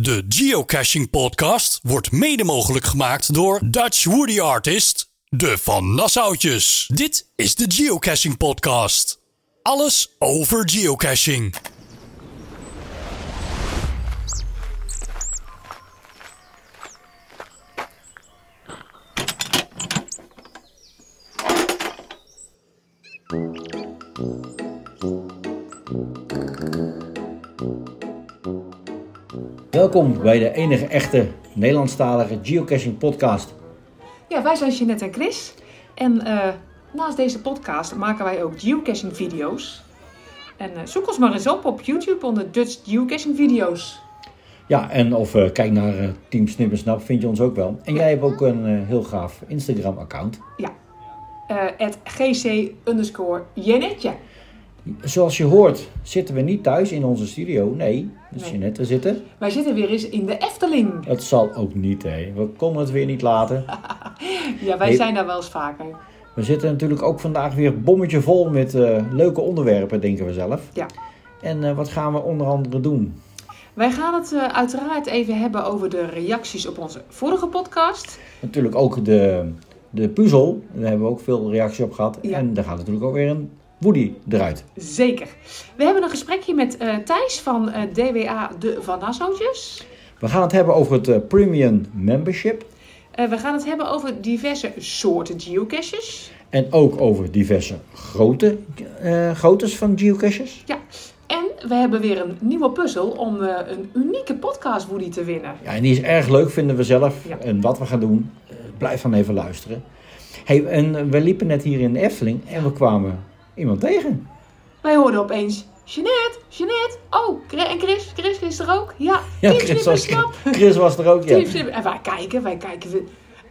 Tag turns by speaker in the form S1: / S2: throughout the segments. S1: De Geocaching Podcast wordt mede mogelijk gemaakt door Dutch Woody Artist, de Van Nassautjes. Dit is de Geocaching Podcast. Alles over geocaching.
S2: Welkom bij de enige echte Nederlandstalige geocaching podcast.
S3: Ja, wij zijn Jeanette en Chris. En eh, naast deze podcast maken wij ook geocaching video's. En eh, zoek ons maar eens op op YouTube onder Dutch geocaching video's.
S2: Ja, en of eh, kijk naar eh, Team Snip en Snap, vind je ons ook wel. En jij hebt ook een eh, heel gaaf Instagram account.
S3: Ja. Eh, Het gc underscore Jenetje.
S2: Zoals je hoort zitten we niet thuis in onze studio. Nee, dus
S3: Nee.
S2: je net te zitten.
S3: Wij zitten weer eens in de Efteling.
S2: Het zal ook niet, hè. We konden het weer niet laten.
S3: Ja, wij
S2: Nee.
S3: zijn daar wel eens vaker.
S2: We zitten natuurlijk ook vandaag weer bommetje vol met eh, leuke onderwerpen, denken we zelf.
S3: Ja.
S2: En eh, wat gaan we onder andere doen?
S3: Wij gaan het eh, uiteraard even hebben over de reacties op onze vorige podcast.
S2: Natuurlijk ook de, de puzzel. Daar hebben we ook veel reacties op gehad.
S3: Ja.
S2: En daar gaat natuurlijk ook weer een Woody eruit.
S3: Zeker. We hebben een gesprekje met eh, Thijs van eh, DWA De Van Nassautjes.
S2: We gaan het hebben over het eh, Premium Membership.
S3: Eh, we gaan het hebben over diverse soorten geocaches.
S2: En ook over diverse grote, eh groottes van geocaches.
S3: Ja, en we hebben weer een nieuwe puzzel om eh, een unieke podcast Woody te winnen.
S2: Ja, en die is erg leuk, vinden we zelf.
S3: Ja.
S2: En wat we gaan doen, eh, blijf dan even luisteren. Hey, en eh, we liepen net hier in de Efteling en we kwamen iemand tegen.
S3: Wij hoorden opeens, Jeanette, Jeanette, oh, Chri- en Chris, Chris is er ook. Ja, Team Snip en
S2: was,
S3: Snap.
S2: Chris was er ook,
S3: Team
S2: ja.
S3: Snip. En wij kijken, wij kijken. We-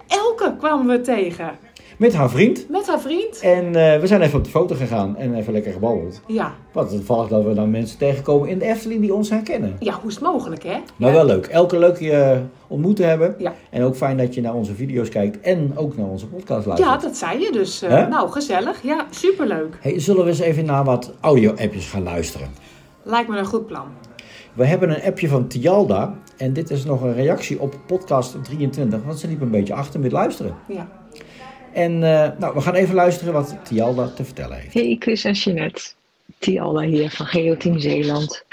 S3: Elke kwamen we tegen,
S2: Met haar vriend.
S3: met haar vriend.
S2: En eh, we zijn even op de foto gegaan en even lekker gebabbeld.
S3: Ja,
S2: Wat toevallig dat we dan mensen tegenkomen in de Efteling die ons herkennen.
S3: ja hoe is het mogelijk, hè?
S2: Maar
S3: Ja.
S2: wel leuk. Elke leuk je ontmoeten hebben.
S3: Ja.
S2: En ook fijn dat je naar onze video's kijkt en ook naar onze podcast luistert.
S3: Ja, dat zei je dus. eh,
S2: Hè?
S3: nou, gezellig. Ja, superleuk.
S2: Hey, zullen we eens even naar wat audio-appjes gaan luisteren?
S3: Lijkt me een goed plan.
S2: We hebben een appje van Tialda. En dit is nog een reactie op podcast 23. Want ze liep een beetje achter met luisteren.
S3: Ja.
S2: En eh, nou, we gaan even luisteren wat Tialda te vertellen heeft.
S4: Hey Chris en Jeanette, Tialda hier van GeoTeam Zeeland.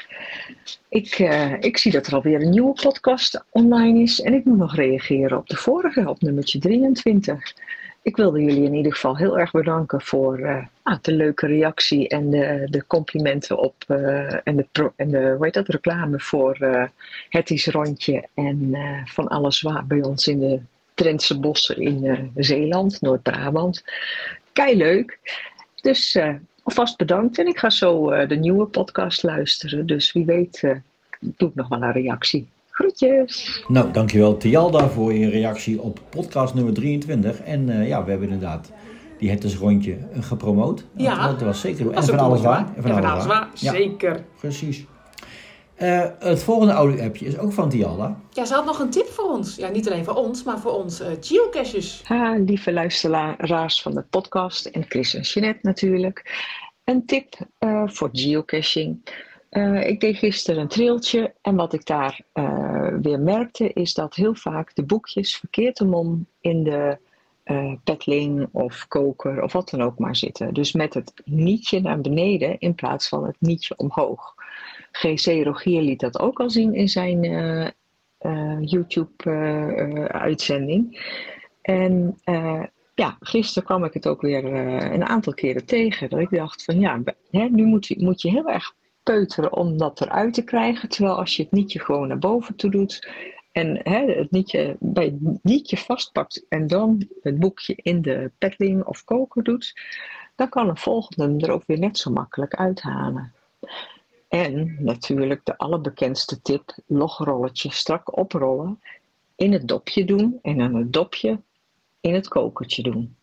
S4: Ik, eh, ik zie dat er alweer een nieuwe podcast online is en ik moet nog reageren op de vorige, op nummertje 23. Ik wilde jullie in ieder geval heel erg bedanken voor eh, nou, de leuke reactie en de, de complimenten op eh, en de, pro- en de hoe heet dat, reclame voor eh, het is rondje en eh, van alles waar bij ons in de Drentse bossen in eh, Zeeland, Noord-Brabant. Kei leuk. Dus eh, alvast bedankt. En ik ga zo eh, de nieuwe podcast luisteren. Dus wie weet eh, doe ik nog wel een reactie. Groetjes!
S2: Nou, dankjewel Tialda voor je reactie op podcast nummer 23. En eh, ja, we hebben inderdaad die Het is Rondje eh, gepromoot.
S3: Ja.
S2: Dat- Dat was zeker. En
S3: is
S2: van
S3: ook
S2: alles
S3: mooi,
S2: waar.
S3: hè? En van alles waar,
S2: Ja.
S3: zeker.
S2: Precies. Eh, het volgende audio-appje is ook van Tialda.
S3: Ja, ze had nog een tip voor ons. Ja, niet alleen voor ons, maar voor ons eh, geocaches.
S4: Ha, lieve luisteraars van de podcast en Chris en Jeanette natuurlijk. Een tip eh, voor geocaching. Eh, ik deed gisteren een trailtje en wat ik daar eh, weer merkte is dat heel vaak de boekjes verkeerd omom in de eh petling of koker of wat dan ook maar zitten. Dus met het nietje naar beneden in plaats van het nietje omhoog. GC Rogier liet dat ook al zien in zijn eh, YouTube-uitzending. En eh, ja, gisteren kwam ik het ook weer eh, een aantal keren tegen. Dat ik dacht van ja, be- hè, nu moet je, moet je heel erg peuteren om dat eruit te krijgen. Terwijl als je het nietje gewoon naar boven toe doet. En hè, het nietje bij het nietje vastpakt en dan het boekje in de petling of koker doet. Dan kan een volgende hem er ook weer net zo makkelijk uithalen. En natuurlijk de allerbekendste tip, logrolletje strak oprollen in het dopje doen en aan het dopje in het kokertje doen.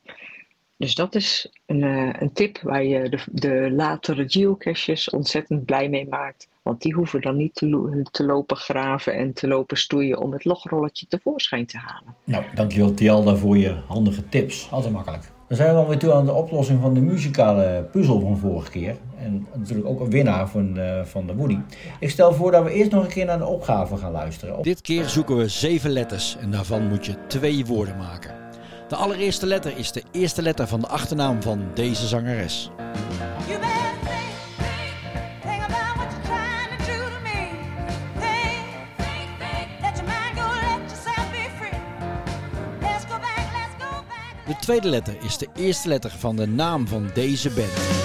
S4: Dus dat is een, eh, een tip waar je de, de latere geocaches ontzettend blij mee maakt. Want die hoeven dan niet te, lo- te lopen graven en te lopen stoeien om het logrolletje tevoorschijn te halen.
S2: Nou, dankjewel Tialda voor je handige tips. Altijd makkelijk. We Dan zijn we dan weer toe aan de oplossing van de muzikale puzzel van vorige keer. En natuurlijk ook een winnaar van, eh, van de Woody. Ik stel voor dat we eerst nog een keer naar de opgave gaan luisteren. Op-
S5: Dit keer zoeken we zeven letters en daarvan moet je twee woorden maken. De allereerste letter is de eerste letter van de achternaam van deze zangeres.
S6: You better think, think, think about what you're trying to do to me. Think, think, think. Let your mind go, let yourself be free. Let's go back, let's go back.
S5: De tweede letter is de eerste letter van de naam van deze band.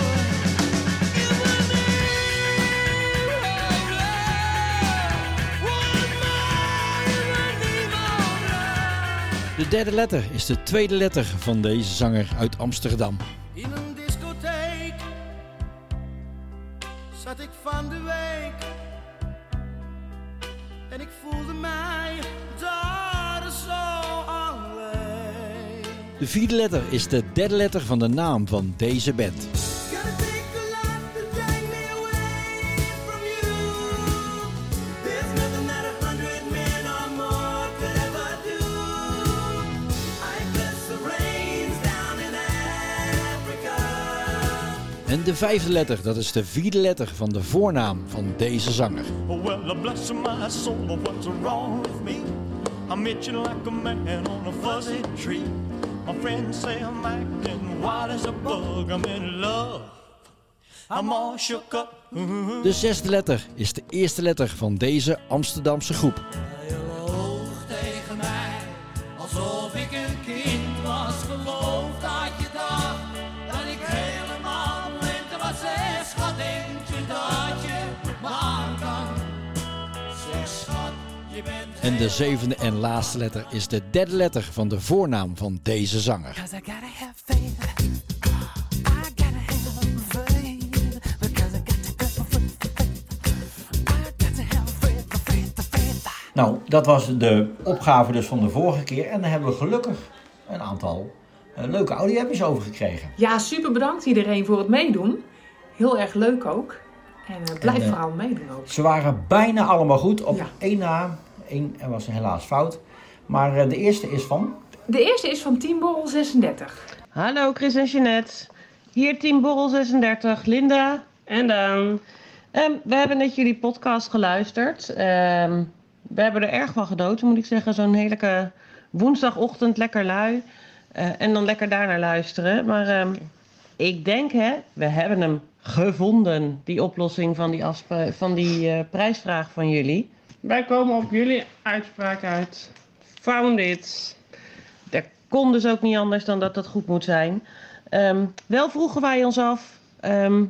S5: De derde letter is de tweede letter van deze zanger uit Amsterdam.
S7: In een discotheek zat ik van de week en ik voelde mij daar zo alleen.
S5: De vierde letter is de derde letter van de naam van deze band.
S7: Gotta take the life to drag me away from you. There's nothing that a hundred men or more could ever do. I bless the rains down in Africa.
S5: En de vijfde letter, dat is de vierde letter van de voornaam van deze zanger.
S8: Well, I bless my soul, but what's wrong with me? I'm itching like a man on a fuzzy tree. My friends say I'm acting wild as a bug. I'm in love. I'm all shook up.
S5: De zesde letter is de eerste letter van deze Amsterdamse groep.
S7: Hoog tegen mij, alsof ik een kind was. Geloof dat je dacht dat ik helemaal blind was. Zeg, schat, denk je dat je me aan kan? Zeg, schat, je bent
S5: En de zevende en laatste letter is de derde letter van de voornaam van deze zanger.
S9: Cause I gotta have faith. I gotta have faith. Because I got to go for faith. I got to have faith, faith, faith.
S2: Nou, dat was de opgave dus van de vorige keer. En daar hebben we gelukkig een aantal eh, leuke audio-appjes over gekregen.
S3: Ja, super bedankt iedereen voor het meedoen. Heel erg leuk ook. En eh, blijf
S2: En, eh,
S3: vooral meedoen ook.
S2: Ze waren bijna allemaal goed. Op
S3: Ja.
S2: één na. Eén was helaas fout. Maar eh, de eerste is van...
S3: De eerste is van Team Borrel 36.
S10: Hallo Chris en Jeanette. Hier Team Borrel 36, Linda en Daan. Ehm, we hebben net jullie podcast geluisterd. Ehm, we hebben er erg van genoten, moet ik zeggen. Zo'n heerlijke woensdagochtend, lekker lui. Eh, en dan lekker daarnaar luisteren. Maar ehm, ik denk, hè, we hebben hem gevonden, die oplossing van die, afspra- van die eh, prijsvraag van jullie.
S11: Wij komen op jullie uitspraak uit.
S10: Found it. Dat kon dus ook niet anders dan dat dat goed moet zijn. Ehm, wel vroegen wij ons af. ehm,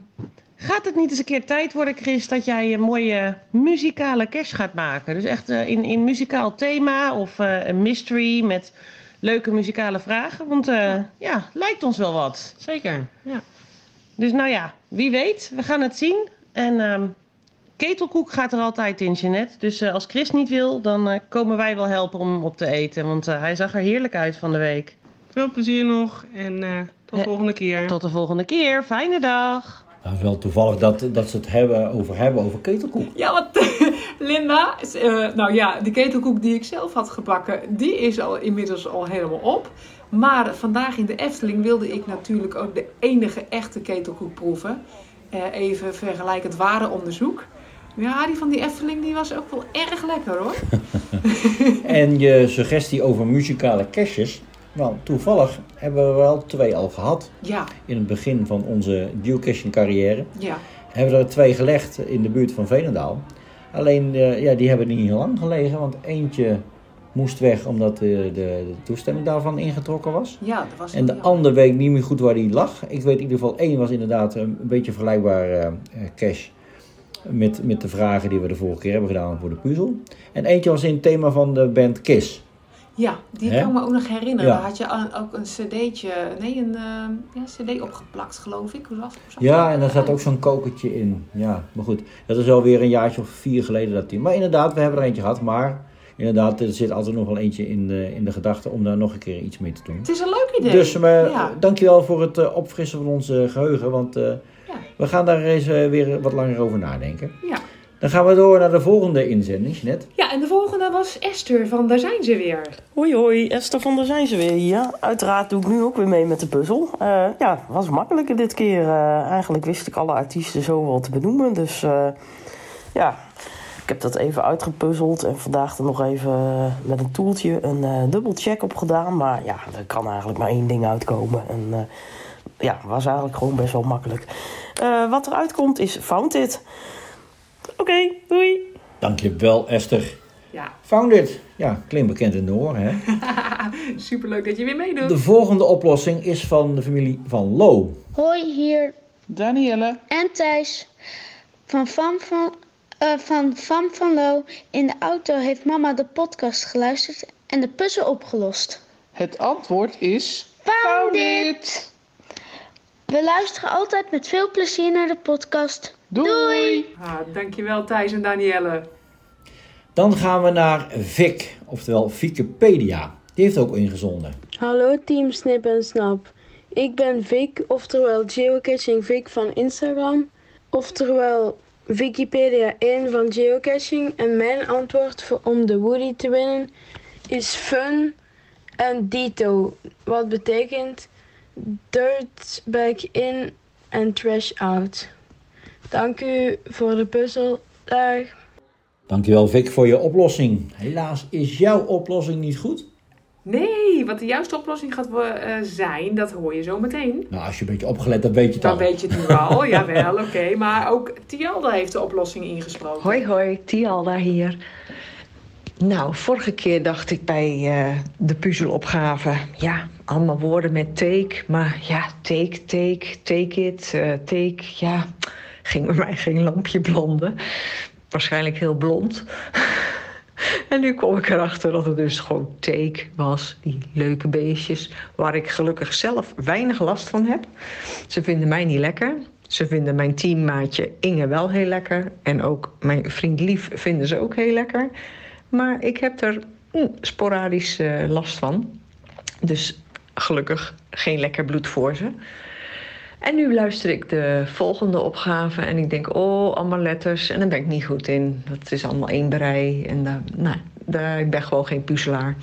S10: gaat het niet eens een keer tijd worden, Chris, dat jij een mooie muzikale kerst gaat maken? Dus echt eh, in, in muzikaal thema of eh, een mystery met leuke muzikale vragen. Want eh, ja, lijkt ons wel wat.
S11: Zeker, ja.
S10: Dus nou ja, wie weet, we gaan het zien. En ehm, ketelkoek gaat er altijd in, Jeanette. Dus eh, als Chris niet wil, dan eh, komen wij wel helpen om hem op te eten. Want eh, hij zag er heerlijk uit van de week.
S11: Veel plezier nog en eh, tot de
S10: Eh,
S11: volgende keer.
S10: Tot de volgende keer, fijne dag!
S2: Nou, het is wel toevallig dat, dat ze het hebben over hebben over ketelkoek.
S3: Ja, want Linda, is, eh, nou ja, de ketelkoek die ik zelf had gebakken, die is al inmiddels al helemaal op. Maar vandaag in de Efteling wilde ik natuurlijk ook de enige echte ketelkoek proeven. Eh, even vergelijkend ware onderzoek. Ja, die van die Efteling die was ook wel erg lekker hoor.
S2: En je suggestie over muzikale kerstjes. Nou, toevallig hebben we er al twee al gehad.
S3: Ja,
S2: In het begin van onze geocaching carrière.
S3: ja.
S2: Hebben we er twee gelegd in de buurt van Veenendaal. Alleen, eh, ja, die hebben niet heel lang gelegen. Want eentje moest weg omdat eh, de, de, de toestemming daarvan ingetrokken was.
S3: Ja, dat was
S2: En de
S3: ja.
S2: andere weet ik niet meer goed waar die lag. Ik weet in ieder geval, één was inderdaad eh, een beetje vergelijkbaar eh, eh, cash met, met de vragen die we de vorige keer hebben gedaan voor de puzzel. En eentje was in het thema van de band Kiss.
S3: Ja, die
S2: Hè?
S3: kan ik me ook nog herinneren.
S2: Ja.
S3: Daar had je al- ook een cd'tje, nee, een ehm, ja, cd opgeplakt geloof ik. Hoe zag- hoe zag
S2: Ja,
S3: dat
S2: en daar zat
S3: eruit?
S2: ook zo'n kokertje in. Ja, maar goed, dat is alweer een jaartje of vier geleden dat die. Maar inderdaad, we hebben er eentje gehad. Maar inderdaad, er zit altijd nog wel eentje in de, in de gedachte om daar nog een keer iets mee te doen.
S3: Het is een leuk idee.
S2: Dus eh,
S3: ja.
S2: dankjewel voor het eh, opfrissen van ons eh, geheugen. Want eh,
S3: Ja.
S2: we gaan daar eens eh, weer wat langer over nadenken.
S3: Ja.
S2: Dan gaan we door naar de volgende inzending, Jeanette.
S3: Ja, en de volgende was Esther van Daar zijn ze weer.
S12: Hoi hoi, Esther van der zijn ze weer hier. Uiteraard doe ik nu ook weer mee met de puzzel. Eh, ja, was makkelijker dit keer. Eh, eigenlijk wist ik alle artiesten zo wel te benoemen. Dus eh, ja, ik heb dat even uitgepuzzeld. En vandaag er nog even eh, met een toeltje een eh dubbelcheck op gedaan. Maar ja, er kan eigenlijk maar één ding uitkomen. En eh, ja, was eigenlijk gewoon best wel makkelijk. Eh, wat eruit komt is Found It. Oké, doei!
S2: Dankjewel, Esther.
S3: Ja,
S2: Found it. Ja, klinkt bekend in de oren, hè?
S3: superleuk dat je weer meedoet.
S2: De volgende oplossing is van de familie van Lo.
S13: Hoi, hier
S14: Danielle.
S13: en Thijs van Van van, eh, van, van van Lo. In de auto heeft mama de podcast geluisterd en de puzzel opgelost.
S14: Het antwoord is.
S13: Found it! We luisteren altijd met veel plezier naar de podcast. Doei.
S3: Ah, dankjewel Thijs en Danielle.
S2: Dan gaan we naar Vic, oftewel Wikipedia. Die heeft ook ingezonden.
S11: Hallo team Snip en Snap. Ik ben Vic, oftewel Geocaching Vic van Instagram, oftewel Wikipedia 1 van Geocaching. En mijn antwoord voor, om de Woody te winnen is fun en dito, wat betekent dirt back in en trash out. Dank u voor de puzzel. Dag.
S2: Dankjewel, Vic, voor je oplossing. Helaas is jouw oplossing niet goed.
S3: Nee, wat de juiste oplossing gaat wo- eh, zijn, dat hoor je zo meteen.
S2: Nou, als je een beetje opgelet, dan weet je het
S3: Dan
S2: al.
S3: weet je het nu wel, jawel, oké. Maar ook Tialda heeft de oplossing ingesproken.
S4: Hoi hoi, Tialda hier. Nou, vorige keer dacht ik bij eh, de puzzelopgave, ja, allemaal woorden met take, maar ja, take, take, take it, eh, take, ja, ging bij mij geen lampje blonden. Waarschijnlijk heel blond. En nu kom ik erachter dat het dus gewoon take was, die leuke beestjes, waar ik gelukkig zelf weinig last van heb. Ze vinden mij niet lekker. Ze vinden mijn teammaatje Inge wel heel lekker. En ook mijn vriend Lief vinden ze ook heel lekker. Maar ik heb er mm, sporadisch eh, last van. Dus gelukkig geen lekker bloed voor ze. En nu luister ik de volgende opgave en ik denk, oh, allemaal letters. En daar ben ik niet goed in. Dat is allemaal één berei. En daar, nou, daar, ik ben gewoon geen puzzelaar.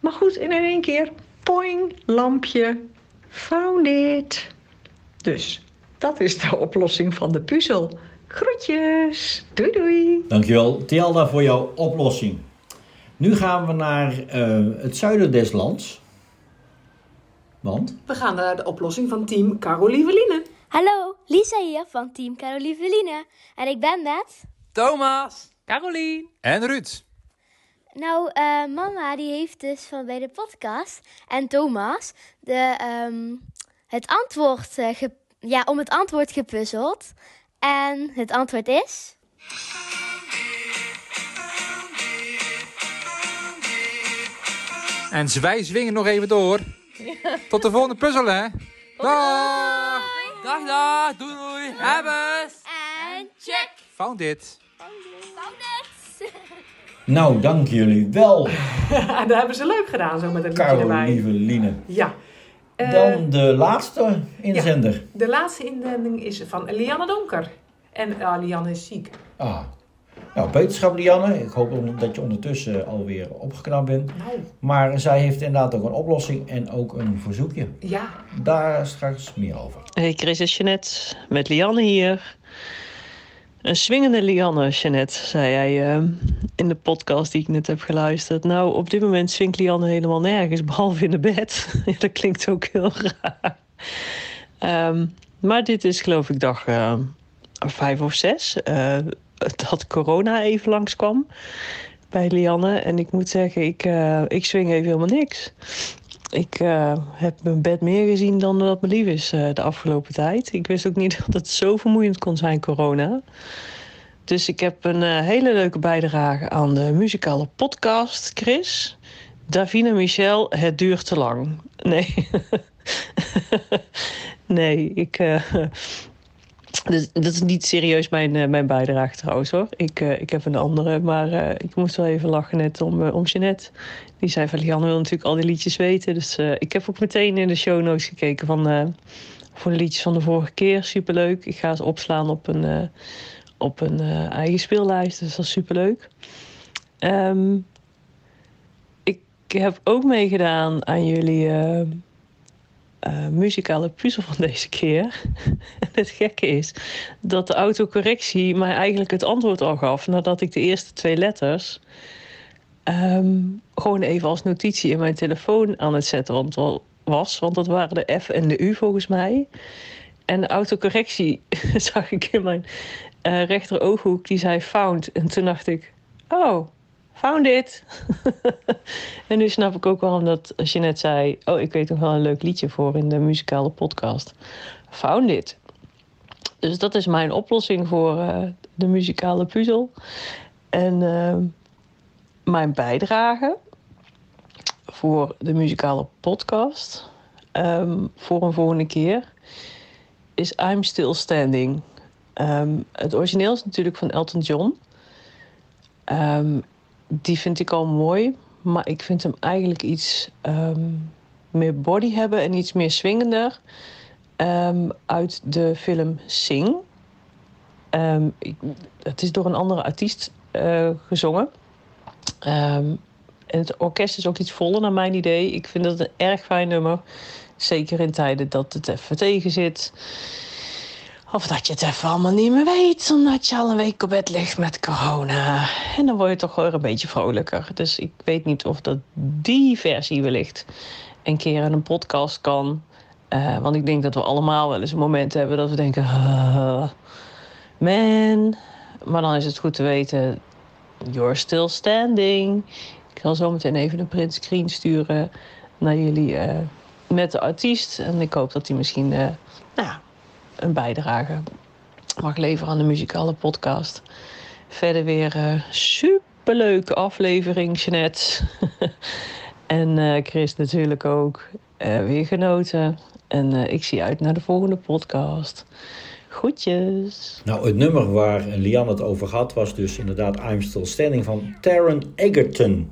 S4: Maar goed, en in één keer, poing, lampje, found it. Dus dat is de oplossing van de puzzel. Groetjes, doei doei.
S2: Dankjewel, Tialda, voor jouw oplossing. Nu gaan we naar eh, het zuiden des lands. Want?
S3: We gaan naar de oplossing van team Carolieveline.
S6: Hallo, Lisa hier van Team Caroline Verline. En ik ben met...
S15: Thomas, Carolien en Ruud.
S6: Nou, eh, mama die heeft dus van bij de podcast en Thomas de, ehm, het antwoord, eh, ge- ja, om het antwoord gepuzzeld. En het antwoord is...
S15: En wij zwingen nog even door. Tot de volgende puzzel, hè? Dag! Dag, dag! Doei, doei! Hebbes!
S6: En check!
S15: Found it.
S2: Nou, dank jullie wel,
S3: dat hebben ze leuk gedaan, zo met een liedje erbij.
S2: Carolieveline.
S3: Ja. Eh,
S2: Dan de laatste inzender.
S3: De laatste inzending is van Lianne Donker. En ah, Lianne is ziek.
S2: Ah. Nou, beterschap Lianne. Ik hoop on- dat je ondertussen alweer opgeknapt bent.
S3: Nou,
S2: Maar zij heeft inderdaad ook een oplossing en ook een verzoekje.
S3: ja.
S2: Daar straks meer over.
S10: Hey Chris en Jeannette, met Lianne hier. Een swingende Lianne, Jeannette, zei jij ehm, in de podcast die ik net heb geluisterd. Nou, op dit moment swingt Lianne helemaal nergens, behalve in de bed. Ja, Dat klinkt ook heel raar. Ehm, maar dit is geloof ik dag ehm, vijf of zes eh, dat corona even langskwam bij Lianne. En ik moet zeggen, ik, eh, ik swing even helemaal niks. Ik eh, heb mijn bed meer gezien dan dat me lief is eh, de afgelopen tijd. Ik wist ook niet dat het zo vermoeiend kon zijn, corona. Dus ik heb een eh, hele leuke bijdrage aan de muzikale podcast, Chris. Davina Michel, het duurt te lang. Nee. nee, ik. eh, dus dat is niet serieus mijn, eh, mijn bijdrage trouwens hoor. Ik, eh, ik heb een andere, maar eh, ik moest wel even lachen net om, eh, om Jeannette. Die zei van, Lianne wil natuurlijk al die liedjes weten. Dus eh, ik heb ook meteen in de show notes gekeken van, eh, voor de liedjes van de vorige keer. Superleuk. Ik ga ze opslaan op een, eh,
S11: op een eh, eigen speellijst. Dus dat is superleuk. Ehm, ik heb ook meegedaan aan jullie eh, eh, muzikale puzzel van deze keer. en het gekke is dat de autocorrectie mij eigenlijk het antwoord al gaf nadat ik de eerste twee letters ehm, gewoon even als notitie in mijn telefoon aan het zetten want, wa- was. Want dat waren de F en de U volgens mij. En de autocorrectie zag ik in mijn eh rechter ooghoek, die zei found. En toen dacht ik, oh, found it. en nu snap ik ook waarom dat als je net zei, oh, ik weet nog wel een leuk liedje voor in de muzikale podcast. Found it. Dus dat is mijn oplossing voor eh, de muzikale puzzel. En ehm, mijn bijdrage voor de muzikale podcast ehm, voor een volgende keer is I'm Still Standing. Ehm, het origineel is natuurlijk van Elton John. Ehm, die vind ik al mooi, maar ik vind hem eigenlijk iets ehm, meer body hebben en iets meer swingender. Ehm, uit de film Sing. Ehm, ik- het is door een andere artiest eh, gezongen. Ehm, en het orkest is ook iets voller naar mijn idee. Ik vind dat een erg fijn nummer. Zeker in tijden dat het even tegen zit. Of dat je het even allemaal niet meer weet, omdat je al een week op bed ligt met corona. En dan word je toch weer een beetje vrolijker. Dus ik weet niet of dat die versie wellicht een keer in een podcast kan. Eh, want ik denk dat we allemaal wel eens een moment hebben dat we denken... "Ah, man, maar dan is het goed te weten You're still standing. Ik zal zo meteen even een print screen sturen naar jullie eh, met de artiest. En ik hoop dat hij misschien eh, nou, ja, een bijdrage mag leveren aan de muzikale podcast. Verder weer eh superleuke aflevering, Jeanette. en eh, Chris natuurlijk ook. Eh, weer genoten. En eh, ik zie uit naar de volgende podcast. Groetjes.
S2: Nou, het nummer waar Lian het over had was dus inderdaad I'm Still Standing van Taron Egerton.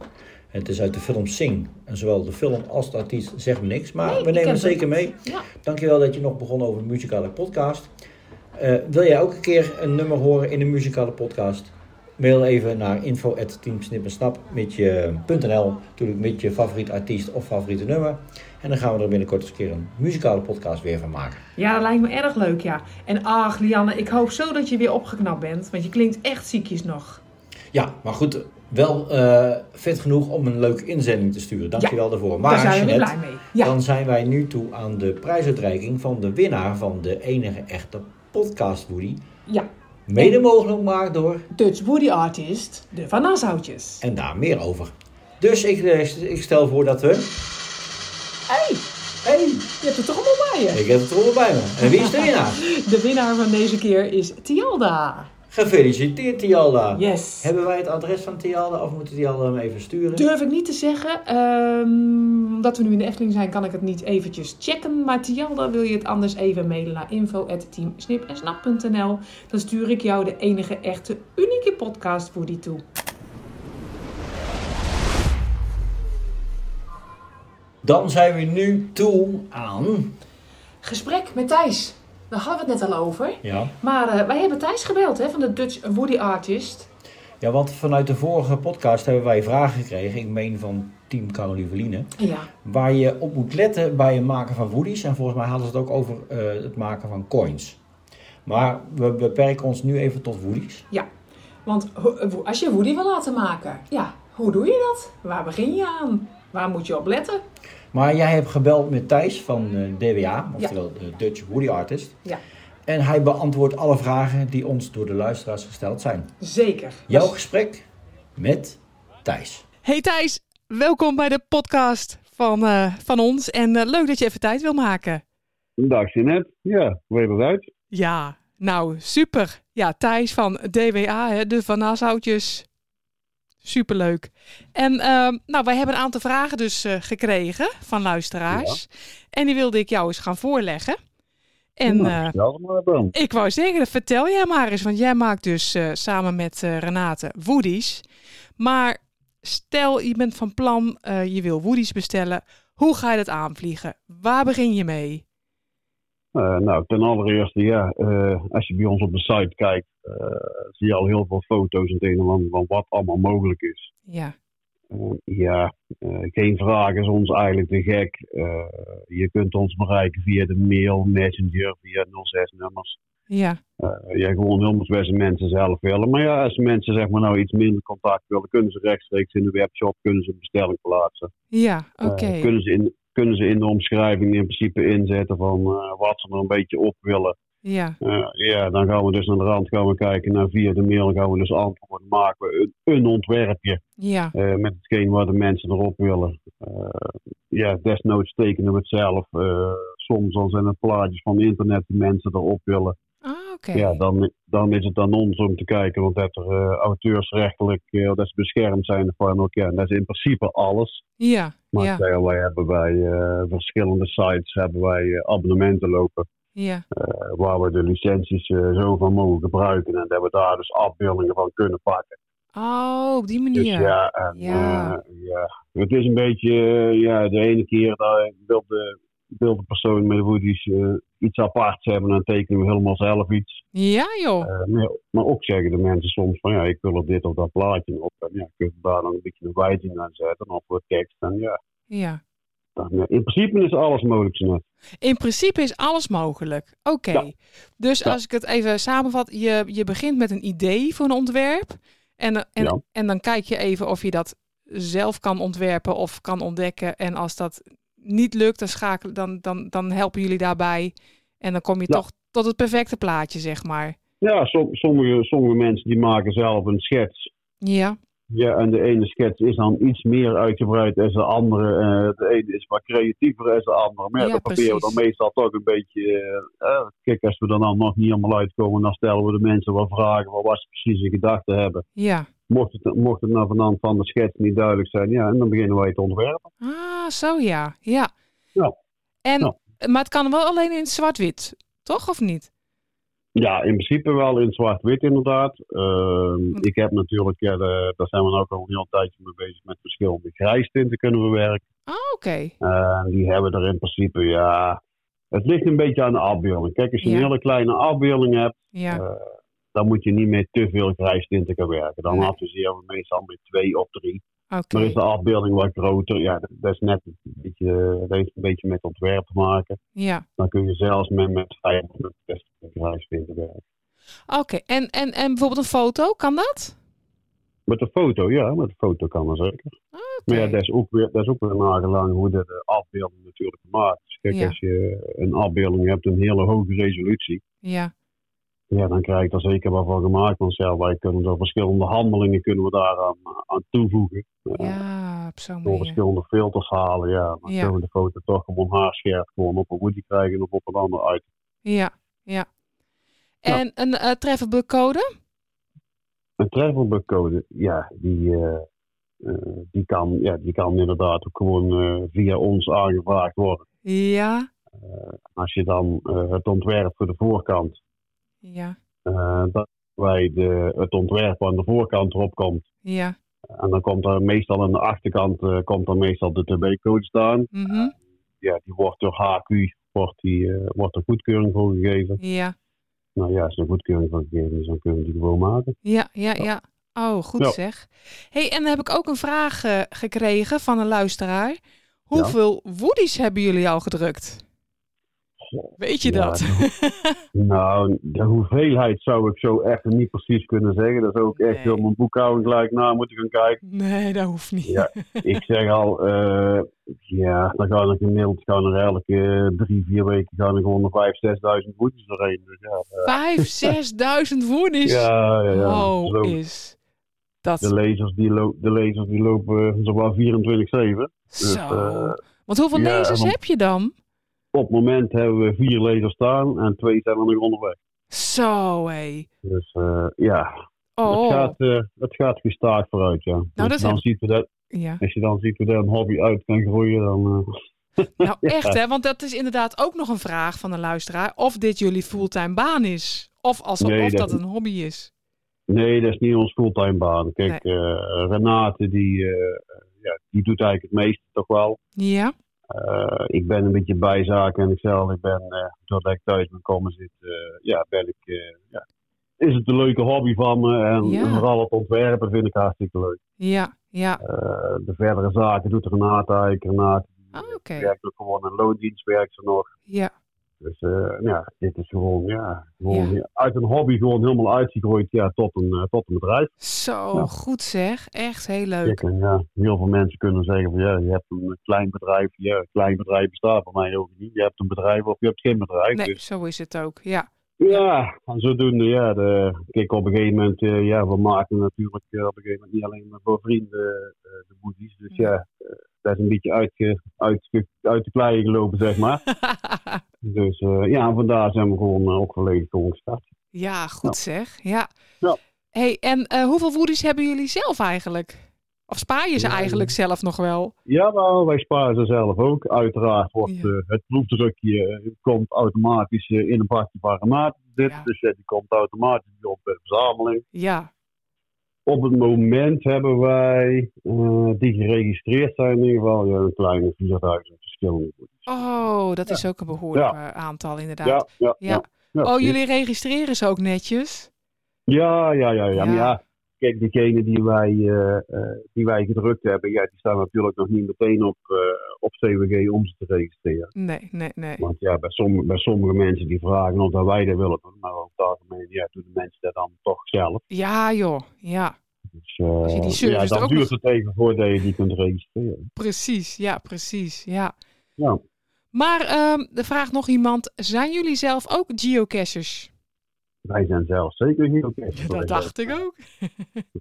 S2: Het is uit de film Sing. En zowel de film als de artiest zegt me niks, maar we nemen het zeker mee.
S3: Ja.
S2: Dankjewel dat je nog begon over de muzikale podcast. Eh, wil jij ook een keer een nummer horen in de muzikale podcast? Mail even naar info.teamsnippensnap met je .nl, natuurlijk met je favoriet artiest of favoriete nummer. En dan gaan we er binnenkort eens een keer een muzikale podcast weer van maken.
S3: Ja, dat lijkt me erg leuk, ja. En ach, Lianne, ik hoop zo dat je weer opgeknapt bent. Want je klinkt echt ziekjes nog.
S2: Ja, maar goed, wel eh, vet genoeg om een leuke inzending te sturen. Dankjewel daarvoor. Maar
S3: daar zijn we weer
S2: Jeanette,
S3: blij mee. Ja.
S2: dan zijn wij nu toe aan de prijsuitreiking van de winnaar van de enige echte podcast Woody.
S3: Ja.
S2: Mede mogelijk gemaakt door...
S3: Dutch Woody Artist, de Van Nassautjes.
S2: En daar meer over. Dus ik, eh, ik stel voor dat we...
S3: Hé, hey, je hebt het toch allemaal bij je?
S2: Ik heb het er allemaal bij me. En wie is de winnaar?
S3: De winnaar van deze keer is Tialda.
S2: Gefeliciteerd Tialda.
S3: Yes.
S2: Hebben wij het adres van Tialda of moeten Tialda hem even sturen?
S3: Durf ik niet te zeggen. ehm, omdat we nu in de Efteling zijn, kan ik het niet eventjes checken. Maar Tialda, wil je het anders even mailen naar info.teamsnipensnap.nl. Dan stuur ik jou de enige echte unieke podcast voor die toe.
S2: Dan zijn we nu toe aan...
S3: Gesprek met Thijs. Daar hadden we het net al over.
S2: Ja.
S3: Maar eh, wij hebben Thijs gebeld hè, van de Dutch Woody Artist.
S2: Ja, want vanuit de vorige podcast hebben wij vragen gekregen. Ik meen van team Caroline
S3: Ja.
S2: Waar je op moet letten bij het maken van woodies. En volgens mij hadden ze het ook over eh, het maken van coins. Maar we beperken ons nu even tot woodies.
S3: Ja, want ho- eh, wo- als je woody wil laten maken, ja, hoe doe je dat? Waar begin je aan? Waar moet je op letten?
S2: Maar jij hebt gebeld met Thijs van eh, DWA, oftewel de Dutch Woody Artist.
S3: Ja,
S2: En hij beantwoordt alle vragen die ons door de luisteraars gesteld zijn.
S3: zeker.
S2: Jouw gesprek met Thijs.
S16: Hey Thijs, welkom bij de podcast van, eh, van ons. En eh, leuk dat je even tijd wil maken.
S7: Dag Jeanette. Ja, hoe heet dat uit?
S16: Ja, nou super. Ja, Thijs van DWA, hè, de Van Nassautjes. Superleuk. En ehm, nou, wij hebben een aantal vragen dus eh, gekregen van luisteraars. En die wilde ik jou eens gaan voorleggen. En eh,
S7: Nou, Vertel maar dan.
S16: ik wou zeggen, vertel jij maar eens, want jij maakt dus eh, samen met eh, Renate woodies. Maar stel je bent van plan, eh, je wil woodies bestellen. Hoe ga je dat aanvliegen? Waar begin je mee?
S7: Eh, nou, ten allereerste, ja, eh, als je bij ons op de site kijkt, eh, zie je al heel veel foto's en het een en ander van wat allemaal mogelijk is.
S3: Ja.
S7: Eh, ja, eh, geen vraag is ons eigenlijk te gek. Eh, je kunt ons bereiken via de mail, messenger, via 06-nummers.
S3: Ja.
S7: Eh, ja, gewoon helemaal beste mensen zelf willen. Maar ja, als mensen zeg maar nou iets minder contact willen, kunnen ze rechtstreeks in de webshop, kunnen ze een bestelling plaatsen.
S3: Ja,
S7: Eh,
S3: oké.
S7: kunnen, ze in, kunnen ze in de omschrijving in principe inzetten van eh, wat ze er een beetje op willen.
S3: Ja.
S7: Eh, ja, dan gaan we dus naar de rand gaan we kijken. naar via de mail gaan we dus antwoorden maken. we Een, een ontwerpje
S3: Ja.
S7: eh, met hetgeen waar de mensen erop willen. Eh, ja, desnoods tekenen we het zelf. Eh, soms dan zijn het plaatjes van internet die mensen erop willen.
S3: Ah, oké.
S7: Ja, dan, dan is het aan ons om te kijken, want dat er eh, auteursrechtelijk, eh, dat ze beschermd zijn ervan ook, ja, dat is in principe alles.
S3: Ja.
S7: Maar
S3: Ja.
S7: terwijl wij hebben bij eh, verschillende sites hebben wij eh, abonnementen lopen.
S3: Ja.
S7: eh, waar we de licenties eh, zo van mogen gebruiken. En dat we daar dus afbeeldingen van kunnen pakken.
S3: Oh, op die
S7: Dus
S3: manier.
S7: ja, en,
S3: Ja.
S7: eh, ja. het is een beetje, eh, ja, de ene keer dat wil de, wil de persoon met de woedies eh, iets aparts hebben. Dan tekenen we helemaal zelf iets.
S3: Ja, joh.
S7: Eh, maar, maar ook zeggen de mensen soms van ja, ik wil er dit of dat plaatje op. En ja, kun je daar dan een beetje een wijzing aan zetten of wat tekst. En ja,
S3: Ja.
S7: dan, ja, in principe is alles mogelijk zo net.
S3: In principe is alles mogelijk. Oké. Dus
S7: Ja.
S3: als ik het even samenvat, je, je begint met een idee voor een ontwerp. En, en,
S7: Ja.
S3: en dan kijk je even of je dat zelf kan ontwerpen of kan ontdekken. En als dat niet lukt, dan, schakelen, dan, dan, dan helpen jullie daarbij. En dan kom je
S7: Ja.
S3: toch tot het perfecte plaatje, zeg maar.
S7: Ja, som- sommige, sommige mensen die maken zelf een schets.
S3: Ja,
S7: Ja, en de ene schets is dan iets meer uitgebreid dan de andere. Eh, de ene is wat creatiever dan de andere. Maar ja,
S3: Ja,
S7: dat proberen we dan
S3: precies.
S7: meestal toch een beetje. eh, eh, kijk, als we er dan nog niet allemaal uitkomen, dan stellen we de mensen wat vragen van wat ze precies in gedachten hebben.
S3: ja.
S7: Mocht het, mocht het naar vanaf van de schets niet duidelijk zijn, ja, en dan beginnen wij te ontwerpen.
S3: Ah, zo ja. Ja.
S7: Ja.
S3: En,
S7: Ja.
S3: Maar het kan wel alleen in het zwart-wit, toch of niet?
S7: Ja, in principe wel in zwart-wit inderdaad. Ehm,
S3: Hm.
S7: ik heb natuurlijk, ja, de- daar zijn we nou ook al een heel tijdje mee bezig met verschillende grijstinten kunnen we werken.
S3: Ah, oké.
S7: En Eh, die hebben er in principe, ja, het ligt een beetje aan de afbeelding. Kijk, als je
S3: Ja.
S7: een hele kleine afbeelding hebt,
S3: Ja.
S7: eh, dan moet je niet met te veel grijstinten gaan werken. Dan adviseren we meestal met twee of drie.
S3: Oké.
S7: Maar is de afbeelding wat groter, ja, dat- dat is net een beetje, eh, dat heeft een beetje met ontwerp te maken.
S3: Ja.
S7: Dan kun je zelfs met, met vijf of met zes grijstinten werken.
S3: Oké. En, en, en bijvoorbeeld een foto, kan dat?
S7: Met de foto, ja, met de foto kan dat zeker. Maar ja, dat is ook weer, dat is ook weer nagelang hoe de, de afbeelding natuurlijk gemaakt is. Kijk,
S3: Ja.
S7: als je een afbeelding hebt, een hele hoge resolutie,
S3: Ja.
S7: ja, dan krijg je er zeker wat van gemaakt. Want ja, wij kunnen er verschillende handelingen kunnen we daaraan aan toevoegen. Eh,
S3: Ja, op zo'n
S7: door
S3: manier.
S7: verschillende filters halen, ja. Dan
S3: Ja.
S7: kunnen we de foto toch gewoon haarscherp gewoon op een woody krijgen of op een ander item.
S3: Ja, ja. En een eh treffable code?
S7: Een travelbook code, ja, die, eh, eh, die, kan, ja, die kan inderdaad ook gewoon eh, via ons aangevraagd worden.
S3: Ja,
S7: Als je dan eh, het ontwerp voor de voorkant,
S3: ja,
S7: eh dat wij de, het ontwerp aan de voorkant erop komt.
S3: ja.
S7: En dan komt er meestal aan de achterkant eh, komt er meestal de TB-code staan.
S3: mhm,
S7: Ja, die wordt door HQ wordt die, eh, wordt er goedkeuring voor gegeven.
S3: Ja,
S7: Nou ja, als er goedkeuring voor gegeven is, dan kunnen we die gewoon maken.
S3: ja, ja, ja. Oh, goed
S7: Ja.
S3: zeg. hey, en dan heb ik ook een vraag eh, gekregen van een luisteraar. Hoeveel woodies hebben jullie al gedrukt? Weet je
S7: Ja,
S3: dat?
S7: Nou, de hoeveelheid zou ik zo echt niet precies kunnen zeggen. Dat zou ik echt
S3: Nee.
S7: door mijn boekhouding gelijk na moeten gaan kijken.
S3: Nee, dat hoeft niet.
S7: Ja, ik zeg al, eh, ja, dan gaan er gemiddeld gaan er elke drie, vier weken gaan er gewoon nog vijf, zesduizend boetes doorheen. Dus ja, eh,
S3: Vijf, zesduizend woodies?
S7: ja, ja, ja.
S3: Oh,
S7: Zo,
S3: is dat...
S7: De lezers die, lo- de lezers die lopen eh, zowel 24-7. Dus,
S3: Zo.
S7: eh,
S3: Want hoeveel
S7: ja,
S3: lezers
S7: want
S3: heb je dan?
S7: Op het moment hebben we vier lezers staan en twee zijn er nog onderweg.
S3: Zo, hé.
S7: Dus eh, ja,
S3: Oh. Nou,
S7: het, gaat, eh, het gaat gestaag vooruit, ja.
S3: dat
S7: Als je dan
S3: heb-
S7: ziet hoe dat,
S3: Ja.
S7: Als je dan ziet hoe dat een hobby uit kan groeien, dan... eh,
S3: Nou,
S7: ja.
S3: echt hè, want dat is inderdaad ook nog een vraag van een luisteraar. Of dit jullie fulltime baan is. Of, als,
S7: Nee,
S3: of dat,
S7: dat-
S3: een hobby is.
S7: Nee, dat is niet ons fulltime baan. Kijk, eh, Renate die, eh, ja, die doet eigenlijk het meeste toch wel.
S3: Ja,
S7: Eh, ik ben een beetje bijzaak en ik zelf, ik ben, eh, doordat ik thuis ben komen zit, eh, ja, ben ik, eh, ja, is het een leuke hobby van me. En
S3: Ja.
S7: vooral het ontwerpen vind ik hartstikke leuk.
S3: Ja, ja.
S7: Eh, de verdere zaken doet Renate eigenlijk. Renate
S3: Ah, Oké.
S7: werkt ook gewoon in loondienst, werkt ze nog.
S3: Ja.
S7: Dus eh, ja, dit is gewoon, ja, gewoon uit een hobby gewoon helemaal uitgegroeid ja, tot, een, eh, tot een bedrijf.
S3: Zo,
S7: Ja.
S3: goed zeg. Echt heel leuk.
S7: Zeker, ja. Heel veel mensen kunnen zeggen van ja, je hebt een klein bedrijf. Ja, een klein bedrijf bestaat bij mij ook niet. Je hebt een bedrijf of je hebt geen bedrijf.
S3: Nee,
S7: Dus
S3: zo is het ook. Ja.
S7: ja, en zodoende ja. De, kijk, op een gegeven moment, eh, ja, we maken natuurlijk eh, op een gegeven moment niet alleen maar voor vrienden eh, de boeties. Dus ja, eh, dat is een beetje uitge, uitge- uit de kleien gelopen, zeg maar. dus eh, ja, en vandaar zijn we gewoon eh, ook volledig gewoon gestart.
S3: Ja, goed zeg. Ja. Hey, en eh, hoeveel woedies hebben jullie zelf eigenlijk? Of spaar je ze eigenlijk zelf nog wel?
S7: Jawel, wij sparen ze zelf ook. Uiteraard wordt eh, het proefdrukje eh, komt automatisch eh, in een pakje parameter zitten. Dus eh, die komt automatisch op de verzameling.
S3: Ja.
S7: Op het moment hebben wij, eh, die geregistreerd zijn in ieder geval, ja, een kleine 4000 verschillende.
S3: Oh, dat is ook een behoorlijk eh, aantal inderdaad.
S7: Ja, ja, ja. Ja,
S3: oh,
S7: precies.
S3: jullie registreren ze ook netjes?
S7: Ja, ja, ja, ja. Maar
S3: Ja.
S7: ja, kijk, diegenen die wij, eh, eh, die wij gedrukt hebben, ja, die staan natuurlijk nog niet meteen op, eh, op CWG om ze te registreren.
S3: Nee, nee, nee.
S7: Want ja, bij sommige, bij sommige mensen die vragen of dat wij dat willen doen, maar over het algemeen ja, doen de mensen dat dan toch zelf.
S3: Ja joh, ja.
S7: Dus, eh,
S3: Als je die service
S7: ja,
S3: er
S7: dan
S3: ook
S7: duurt
S3: nog-
S7: het even voordat je die kunt registreren.
S3: Precies, ja, precies, ja.
S7: Ja.
S3: Maar ehm er vraagt nog iemand, zijn jullie zelf ook geocachers?
S7: Wij zijn zelf zeker niet oké.
S3: Dat dacht ik ook.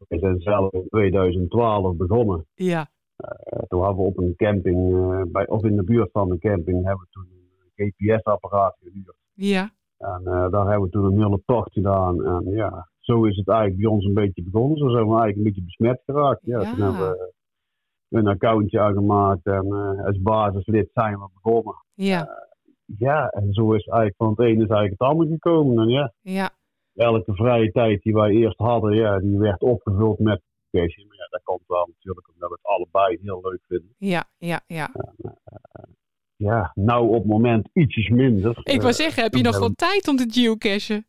S7: Wij zijn zelf in 2012 begonnen.
S3: Ja.
S7: Eh, toen hadden we op een camping, eh, bij, of in de buurt van een camping, hebben we toen een eh, GPS-apparaat gehuurd.
S3: Ja,
S7: En eh, daar hebben we toen een hele tocht gedaan. En ja, zo is het eigenlijk bij ons een beetje begonnen. Zo zijn we eigenlijk een beetje besmet geraakt. Ja,
S3: Ja.
S7: Toen hebben we een accountje aangemaakt en eh, als basislid zijn we begonnen.
S3: ja,
S7: Ja, en zo is eigenlijk van het ene is eigenlijk het andere gekomen. En ja,
S3: ja.
S7: elke vrije tijd die wij eerst hadden, ja, die werd opgevuld met cash. Maar ja, dat komt wel natuurlijk omdat we het allebei heel leuk vinden.
S3: Ja, ja, ja.
S7: Ja, nou op het moment ietsjes minder.
S3: Ik
S7: Eh,
S3: wou zeggen, heb je
S7: toen
S3: nog
S7: hebben
S3: wel tijd om te geocachen?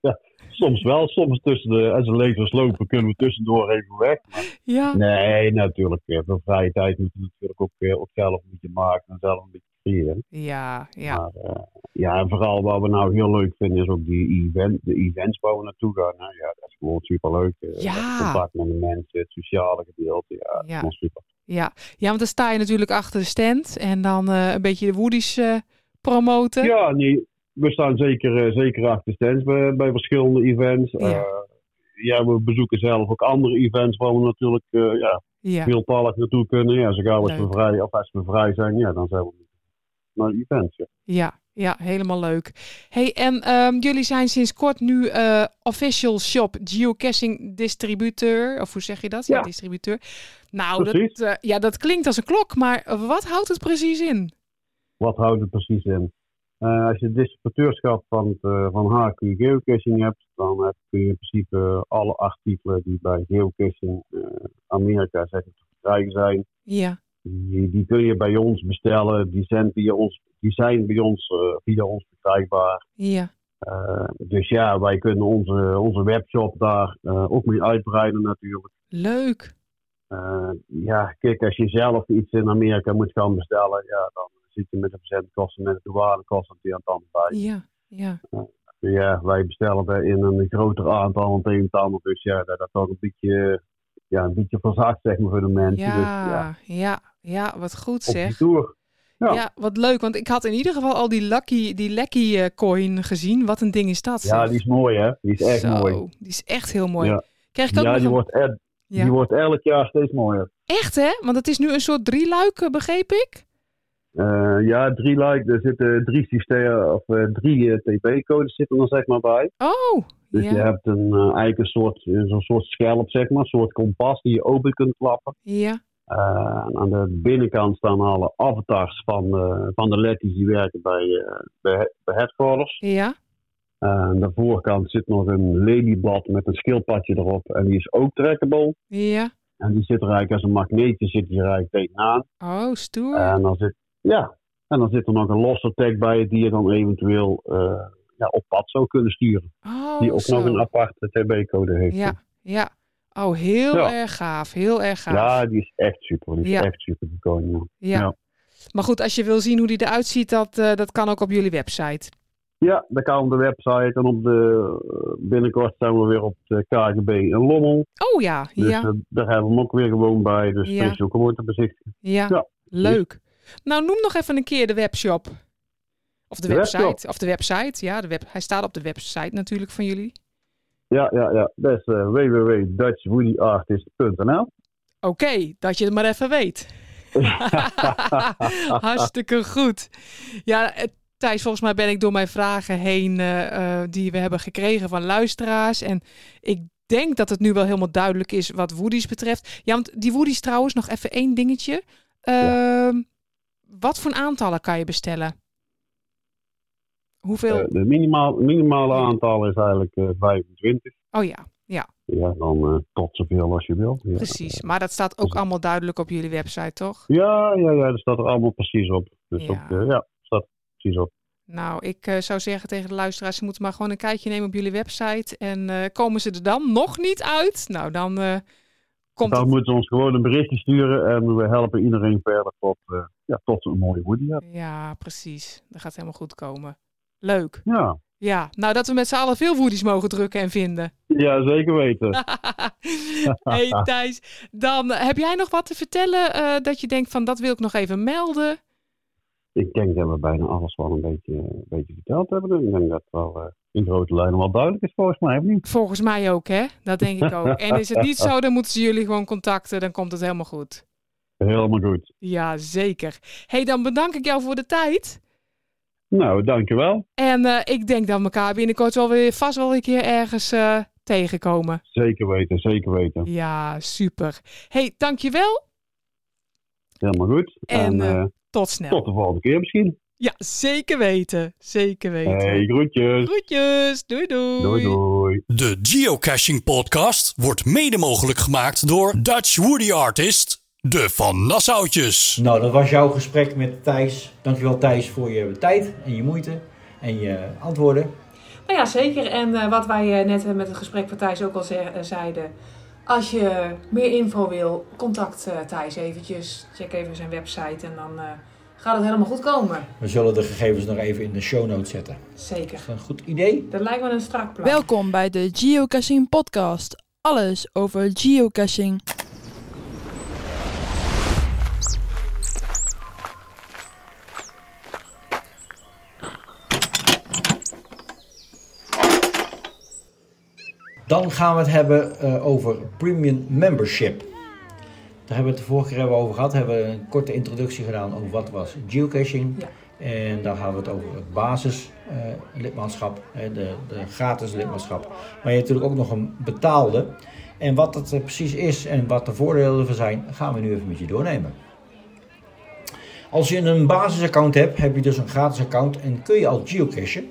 S7: Ja, soms wel, soms tussen de, als de levens lopen kunnen we tussendoor even weg. Maar
S3: Ja.
S7: Nee, natuurlijk. eh, Voor vrije tijd moeten we natuurlijk ook, eh, ook zelf een beetje maken en zelf een beetje creëren.
S3: Ja, ja.
S7: Eh, ja, en vooral wat we nou heel leuk vinden is ook die event, de events waar we naartoe gaan. Nou ja, dat is gewoon superleuk. eh,
S3: Ja.
S7: Het contact met de mensen, het sociale gedeelte. Ja, dat is
S3: Ja.
S7: gewoon super.
S3: Ja, ja want dan sta je natuurlijk achter de stand en dan eh, een beetje de woodies eh, promoten.
S7: Ja, nee, we staan zeker, eh, zeker achter stands bij, bij verschillende events. Eh, Ja. we bezoeken zelf ook andere events waar we natuurlijk eh ja,
S3: Ja.
S7: veeltalig naartoe kunnen. Ja, zo gauw als we,
S3: Leuk.
S7: vrij, of als we vrij zijn, ja, dan zijn we naar events. Ja.
S3: Ja, ja, helemaal leuk. hey, en ehm, jullie zijn sinds kort nu eh, official shop geocaching distributeur. Of hoe zeg je dat? Ja, distributeur. Nou, dat,
S7: Precies.
S3: eh, ja, dat klinkt als een klok, maar wat houdt het precies in?
S7: Wat houdt het precies in? Eh, als je het distributeurschap van, het, eh, van HQ Geocaching hebt, dan heb je in principe eh, alle artikelen die bij Geocaching eh, Amerika zeg ik, te krijgen zijn,
S3: Ja,
S7: Die, die kun je bij ons bestellen. Die zijn, via ons, die zijn bij ons, eh, via ons verkrijgbaar.
S3: ja,
S7: Eh, dus ja, wij kunnen onze, onze webshop daar eh, ook mee uitbreiden natuurlijk.
S3: leuk.
S7: Eh, ja, kijk, als je zelf iets in Amerika moet gaan bestellen, ja, dan zit je met de verzendkosten, met de douanekosten die aan het ander bij. Dus
S3: Ja, ja,
S7: Ja, wij bestellen er in een groter aantal dan het een en het ander. Dus ja, dat dat ook een beetje, ja, een beetje verzaakt zeg maar voor de mensen. dus, ja.
S3: ja, ja, ja, wat goed
S7: Op die
S3: zeg.
S7: toer.
S3: Ja.
S7: Ja.
S3: wat leuk, want ik had in ieder geval al die Lucky, die Lucky eh, coin gezien. Wat een ding is dat?
S7: Ja,
S3: zeg.
S7: die is mooi hè. Die is echt
S3: Zo,
S7: mooi.
S3: Die is echt heel mooi.
S7: Ja,
S3: Krijg ik ook
S7: ja,
S3: nog
S7: die,
S3: een-
S7: wordt el-
S3: Ja.
S7: die wordt elk jaar steeds mooier.
S3: Echt hè? Want het is nu een soort drieluik, eh, begreep ik.
S7: Eh, ja, drie like, er zitten drie systemen of eh, drie TP-codes zitten er zeg maar bij.
S3: Oh,
S7: Dus
S3: ja.
S7: je hebt een, eh, eigenlijk een soort, eh, zo'n soort schelp, zeg maar, een soort kompas die je open kunt klappen.
S3: Ja,
S7: Eh, en aan de binnenkant staan alle avatars van, eh, van de letties die werken bij, eh, bij, bij headquarters.
S3: ja.
S7: Eh, aan de voorkant zit nog een ladyblad met een schildpadje erop en die is ook trackable.
S3: Ja,
S7: En die zit er eigenlijk als een magneetje zit die er eigenlijk tegenaan.
S3: Oh, stoer.
S7: En dan zit, ja, en dan zit er nog een losse tag bij die je dan eventueel eh, ja, op pad zou kunnen sturen.
S3: Oh,
S7: die ook
S3: zo.
S7: nog een aparte TB-code heeft.
S3: Ja, ja. Oh, heel
S7: Ja.
S3: erg gaaf. Heel erg gaaf.
S7: Ja, die is echt super. Die is
S3: Ja.
S7: echt super, die koning.
S3: Ja. Maar goed, als je wil zien hoe die eruit ziet, dat, eh, dat kan ook op jullie website.
S7: Ja, dat kan op de website en op de, eh, binnenkort zijn we weer op de KGB in Lommel.
S3: Oh ja,
S7: Dus
S3: ja,
S7: eh, daar hebben we hem ook weer gewoon bij. Dus
S3: Ja.
S7: dat is ook gewoon te bezichtigen.
S3: ja. Leuk. Nou, noem nog even een keer de webshop. Of de,
S7: De
S3: website.
S7: webshop.
S3: Of de website, ja. De web... Hij staat op de website natuurlijk van jullie.
S7: Ja, ja, ja. Dat is eh, www.dutchwoodyartist.nl.
S3: Oké, dat je het maar even weet. Hartstikke goed. Ja, eh, Thijs, volgens mij ben ik door mijn vragen heen eh, eh, die we hebben gekregen van luisteraars. En ik denk dat het nu wel helemaal duidelijk is wat Woody's betreft. Ja, want die Woody's trouwens, nog even één dingetje. Ehm, Wat voor aantallen kan je bestellen? Hoeveel?
S7: Eh, de minimaal, minimale aantal is eigenlijk eh, 25.
S3: oh ja, ja,
S7: Ja, dan eh, tot zoveel als je wilt. Ja.
S3: precies. Maar dat staat ook allemaal duidelijk op jullie website, toch?
S7: Ja, ja, ja, dat staat er allemaal precies op. Dus
S3: Ja.
S7: ja, ook, eh, ja staat er precies op.
S3: Nou, ik eh, zou zeggen tegen de luisteraars, ze moeten maar gewoon een kijkje nemen op jullie website. En eh, komen ze er dan nog niet uit? Nou, dan eh, komt
S7: dan
S3: het.
S7: moeten ze ons gewoon een berichtje sturen en we helpen iedereen verder tot, eh, ja, tot een mooie Woody. Ja.
S3: Ja, precies. Dat gaat helemaal goed komen. Leuk.
S7: Ja.
S3: Ja, nou dat we met z'n allen veel woedies mogen drukken en vinden.
S7: ja, zeker weten.
S3: hey, Thijs, dan eh, heb jij nog wat te vertellen eh, dat je denkt van dat wil ik nog even melden?
S7: Ik denk dat we bijna alles wel een beetje, eh, een beetje verteld hebben. Ik denk dat het wel eh, in grote lijnen wel duidelijk is volgens mij, of niet?
S3: Volgens mij ook, hè? Dat denk ik ook. En is het niet zo, dan moeten ze jullie gewoon contacten, dan komt het helemaal goed.
S7: Helemaal goed.
S3: Ja, zeker. hey, dan bedank ik jou voor de tijd.
S7: Nou, dankjewel.
S3: En eh, ik denk dat we elkaar binnenkort wel weer vast wel een keer ergens eh, tegenkomen.
S7: Zeker weten, zeker weten.
S3: Ja, super. hey, dankjewel.
S7: Helemaal goed.
S3: En, eh,
S7: eh,
S3: tot snel.
S7: Tot de volgende keer misschien.
S3: Ja, zeker weten. Zeker weten.
S7: Hey, groetjes.
S3: Groetjes. Doei doei.
S7: doei.
S1: De Geocaching Podcast wordt mede mogelijk gemaakt door Dutch Woody Artist, de Van Nassautjes.
S2: Nou, dat was jouw gesprek met Thijs. Dankjewel Thijs voor je tijd en je moeite en je antwoorden.
S4: Nou ja, zeker. En eh, wat wij eh, net eh, met het gesprek van Thijs ook al ze- eh, zeiden. Als je meer info wil, contact eh, Thijs eventjes. Check even zijn website en dan eh, gaat het helemaal goed komen.
S2: We zullen de gegevens nog even in de show notes zetten.
S4: Zeker.
S2: Een goed idee.
S4: Dat lijkt me een strak plan.
S17: Welkom bij de Geocaching Podcast. Alles over geocaching.
S2: Dan gaan we het hebben eh, over premium membership. Daar hebben we het de vorige keer hebben we over gehad. Hebben we een korte introductie gedaan over wat was geocaching. En dan gaan we het over het basislidmaatschap, de, de gratis lidmaatschap. Maar je hebt natuurlijk ook nog een betaalde. En wat dat eh, precies is en wat de voordelen ervan zijn, gaan we nu even met je doornemen. Als je een basisaccount hebt, heb je dus een gratis account en kun je al geocachen.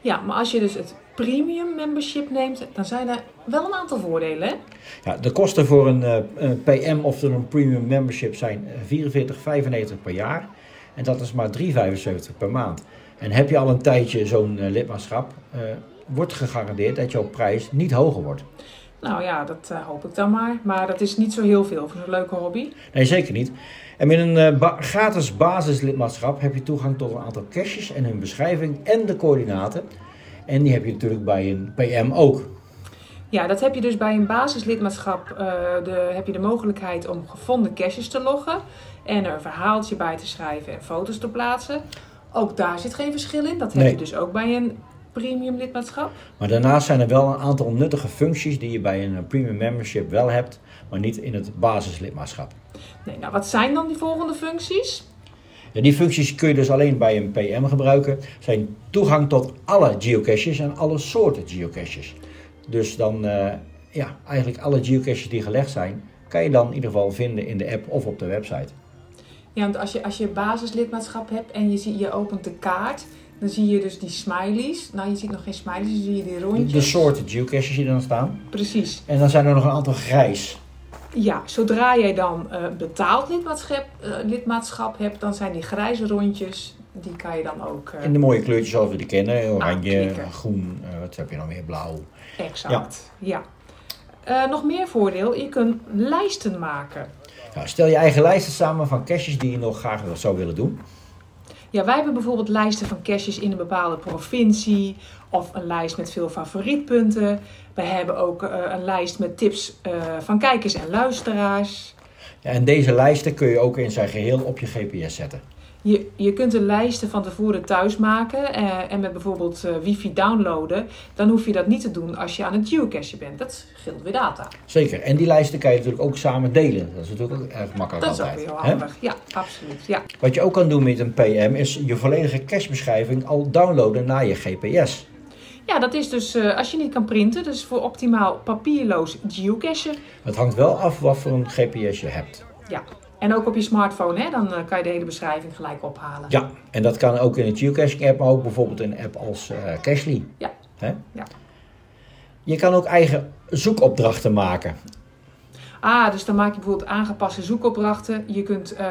S4: Ja, maar als je dus het premium membership neemt, dan zijn er wel een aantal voordelen. Hè?
S2: Ja, de kosten voor een eh, een PM of er een premium membership zijn eh, 44,95 per jaar. En dat is maar 3,75 per maand. En heb je al een tijdje zo'n eh, lidmaatschap, eh, wordt gegarandeerd dat jouw prijs niet hoger wordt.
S4: Nou ja, dat eh, hoop ik dan maar. Maar dat is niet zo heel veel voor zo'n leuke hobby.
S2: Nee, zeker niet. En met een eh, ba- gratis basislidmaatschap heb je toegang tot een aantal caches en hun beschrijving en de coördinaten. En die heb je natuurlijk bij een PM ook.
S4: Ja, dat heb je dus bij een basislidmaatschap. eh, de, heb je de mogelijkheid om gevonden caches te loggen. En er een verhaaltje bij te schrijven en foto's te plaatsen. Ook daar zit geen verschil in. Dat heb
S2: Nee.
S4: je dus ook bij een premium lidmaatschap.
S2: Maar daarnaast zijn er wel een aantal nuttige functies die je bij een eh, premium membership wel hebt, maar niet in het basislidmaatschap.
S4: Nee, nou wat zijn dan die volgende functies?
S2: Ja, die functies kun je dus alleen bij een PM gebruiken. Zijn toegang tot alle geocaches en alle soorten geocaches. Dus dan, eh, ja, eigenlijk alle geocaches die gelegd zijn, kan je dan in ieder geval vinden in de app of op de website.
S4: Ja, want als je, als je basislidmaatschap hebt en je, zie, je opent de kaart, dan zie je dus die smileys. Nou, je ziet nog geen smileys, dan zie je die
S2: De,
S4: rondjes.
S2: de soorten geocaches die dan staan.
S4: Precies.
S2: En dan zijn er nog een aantal grijs.
S3: Ja, zodra jij dan eh, betaald lidmaatschap, eh, lidmaatschap hebt, dan zijn die grijze rondjes, die kan je dan ook... eh,
S2: En de mooie kleurtjes zoals we die kennen. Oranje,
S3: Aanklikken.
S2: groen, eh, wat heb je nog meer? Blauw.
S3: Exact, ja. Eh, nog meer voordeel, je kunt lijsten maken.
S2: Nou, stel je eigen lijsten samen van caches die je nog graag wil- zou willen doen.
S3: Ja, wij hebben bijvoorbeeld lijsten van caches in een bepaalde provincie of een lijst met veel favorietpunten. We hebben ook eh, een lijst met tips eh, van kijkers en luisteraars.
S2: Ja, en deze lijsten kun je ook in zijn geheel op je GPS zetten.
S3: Je, je kunt de lijsten van tevoren thuis maken eh, en met bijvoorbeeld eh, wifi downloaden. Dan hoef je dat niet te doen als je aan het geocachen bent. Dat scheelt weer data.
S2: Zeker. En die lijsten kan je natuurlijk ook samen delen. Dat is natuurlijk ook erg makkelijk
S3: dat is ook
S2: altijd.
S3: weer heel
S2: hè?
S3: handig. Ja, absoluut. Ja.
S2: Wat je ook kan doen met een PM is je volledige cachebeschrijving al downloaden naar je GPS.
S3: ja, dat is dus eh, als je niet kan printen, dus voor optimaal papierloos geocachen.
S2: Het hangt wel af wat voor een GPS je hebt.
S3: Ja, en ook op je smartphone, hè? dan eh, kan je de hele beschrijving gelijk ophalen.
S2: Ja, en dat kan ook in een geocaching app, maar ook bijvoorbeeld in een app als eh Cashly.
S3: Ja.
S2: Hè?
S3: Ja.
S2: Je kan ook eigen zoekopdrachten maken.
S3: Ah, dus dan maak je bijvoorbeeld aangepaste zoekopdrachten. Je kunt eh,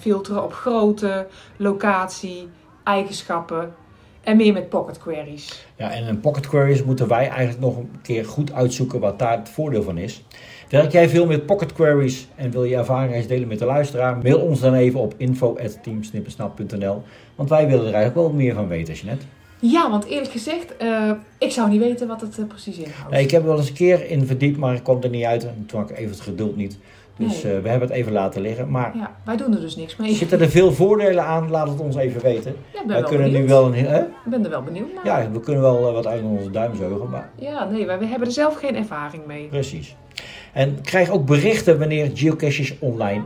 S3: filteren op grootte, locatie, eigenschappen en meer met pocket queries.
S2: Ja, en in Pocket Queries moeten wij eigenlijk nog een keer goed uitzoeken wat daar het voordeel van is. Werk jij veel met Pocket Queries en wil je ervaring eens delen met de luisteraar? Mail ons dan even op info.teamsnippersnap.nl, want wij willen er eigenlijk wel meer van weten, Jeanette.
S3: Ja, want eerlijk gezegd, eh, ik zou niet weten wat het eh, precies inhoudt.
S2: Nee, ik heb er wel eens een keer in verdiept, maar ik kwam er niet uit en toen had ik even het geduld niet. Dus
S3: Nee.
S2: eh, we hebben het even laten liggen, maar
S3: Ja, wij doen er dus niks mee.
S2: Zitten er veel voordelen aan? Laat het ons even weten.
S3: Ja, ik ben
S2: wij
S3: wel
S2: kunnen nu
S3: benieuwd.
S2: wel een. Hè?
S3: Ik ben er wel benieuwd naar.
S2: Ja, we kunnen wel eh, wat uit onze duim zeugen, maar
S3: Ja, nee, wij, wij hebben er zelf geen ervaring mee.
S2: precies. En krijg ook berichten wanneer geocaches online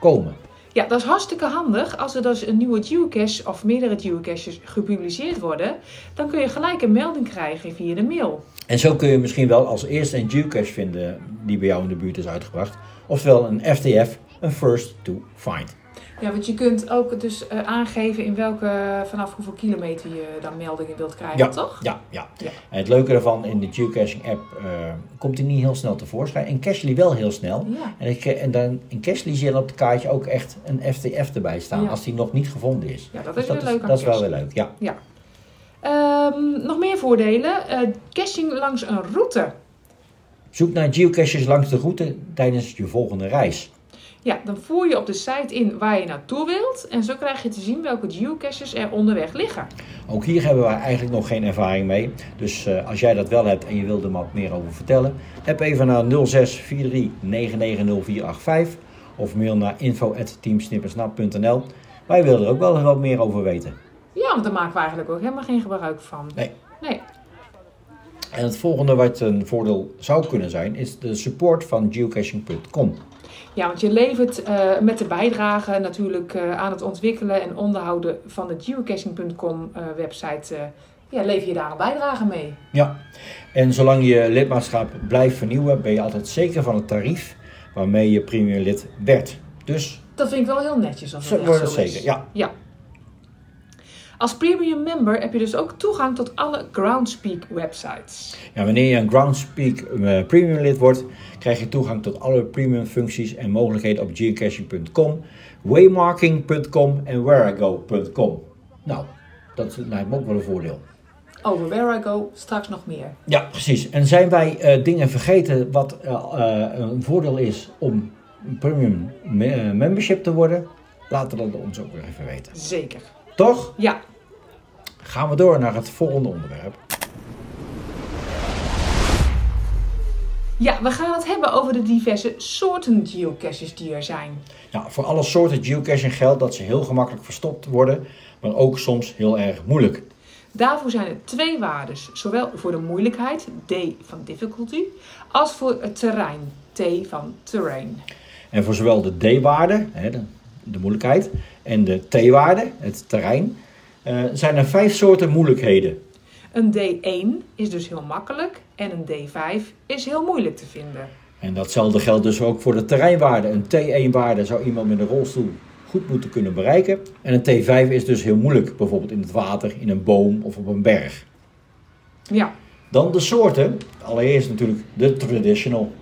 S2: komen.
S3: Ja, dat is hartstikke handig. Als er dus een nieuwe geocache of meerdere geocaches gepubliceerd worden, dan kun je gelijk een melding krijgen via de mail.
S2: En zo kun je misschien wel als eerste een geocache vinden die bij jou in de buurt is uitgebracht. Oftewel een FTF, een first to find.
S3: Ja, want je kunt ook dus eh, aangeven in welke, vanaf hoeveel kilometer je dan meldingen wilt krijgen,
S2: ja,
S3: toch?
S2: Ja, ja.
S3: Ja.
S2: En het leuke daarvan, in de geocaching app eh, komt die niet heel snel tevoorschijn. En Cashly wel heel snel.
S3: Ja.
S2: En, ik, eh, en dan in Cashly zie je op het kaartje ook echt een FTF erbij staan,
S3: Ja.
S2: als die nog niet gevonden is.
S3: Ja, dat
S2: Dus
S3: is weer leuk aan
S2: Dat is wel weer
S3: Cashly.
S2: leuk, ja.
S3: Ja. Ehm, nog meer voordelen. Eh, caching langs een route.
S2: Zoek naar geocaches langs de route tijdens je volgende reis.
S3: Ja, dan voer je op de site in waar je naartoe wilt. En zo krijg je te zien welke geocaches er onderweg liggen.
S2: Ook hier hebben wij eigenlijk nog geen ervaring mee. Dus eh, als jij dat wel hebt en je wilt er wat meer over vertellen, heb even naar 0643 990-485 of mail naar info.teamsnippersnap.nl. Wij willen er ook wel wat meer over weten.
S3: Ja, want daar maken we eigenlijk ook helemaal geen gebruik van.
S2: Nee.
S3: Nee.
S2: En het volgende wat een voordeel zou kunnen zijn, is de support van geocaching.com.
S3: Ja, want je levert eh, met de bijdrage natuurlijk eh, aan het ontwikkelen en onderhouden van de geocaching.com eh, website. eh, ja, lever je daar een bijdrage mee.
S2: Ja, en zolang je lidmaatschap blijft vernieuwen, ben je altijd zeker van het tarief waarmee je premium lid werd. Dus
S3: Dat vind ik wel heel netjes als
S2: Zo
S3: dat echt
S2: wordt het
S3: zo is.
S2: zeker, ja.
S3: ja. Als premium member heb je dus ook toegang tot alle Groundspeak websites.
S2: ja, wanneer je een Groundspeak eh, premium lid wordt, krijg je toegang tot alle premium functies en mogelijkheden op geocaching.com, waymarking.com en whereigo.com. Nou, dat lijkt me ook wel een voordeel.
S3: Over Where I Go straks nog meer.
S2: Ja, precies. En zijn wij eh, dingen vergeten wat eh, eh, een voordeel is om een premium me- eh, membership te worden? Laat dat ons ook weer even weten.
S3: Zeker.
S2: Toch?
S3: Ja.
S2: Gaan we door naar het volgende onderwerp.
S3: Ja, we gaan het hebben over de diverse soorten geocaches die er zijn.
S2: Nou, voor alle soorten geocaching geldt dat ze heel gemakkelijk verstopt worden, maar ook soms heel erg moeilijk.
S3: Daarvoor zijn er twee waarden, zowel voor de moeilijkheid, D van difficulty, als voor het terrein, T van terrain.
S2: En voor zowel de D-waarde, hè, de, de moeilijkheid, en de T-waarde, het terrein, eh, zijn er vijf soorten moeilijkheden.
S3: Een D1 is dus heel makkelijk en een D5 is heel moeilijk te vinden.
S2: En datzelfde geldt dus ook voor de terreinwaarde. Een T1-waarde zou iemand met een rolstoel goed moeten kunnen bereiken. En een T5 is dus heel moeilijk, bijvoorbeeld in het water, in een boom of op een berg.
S3: Ja.
S2: Dan de soorten. Allereerst natuurlijk de traditional.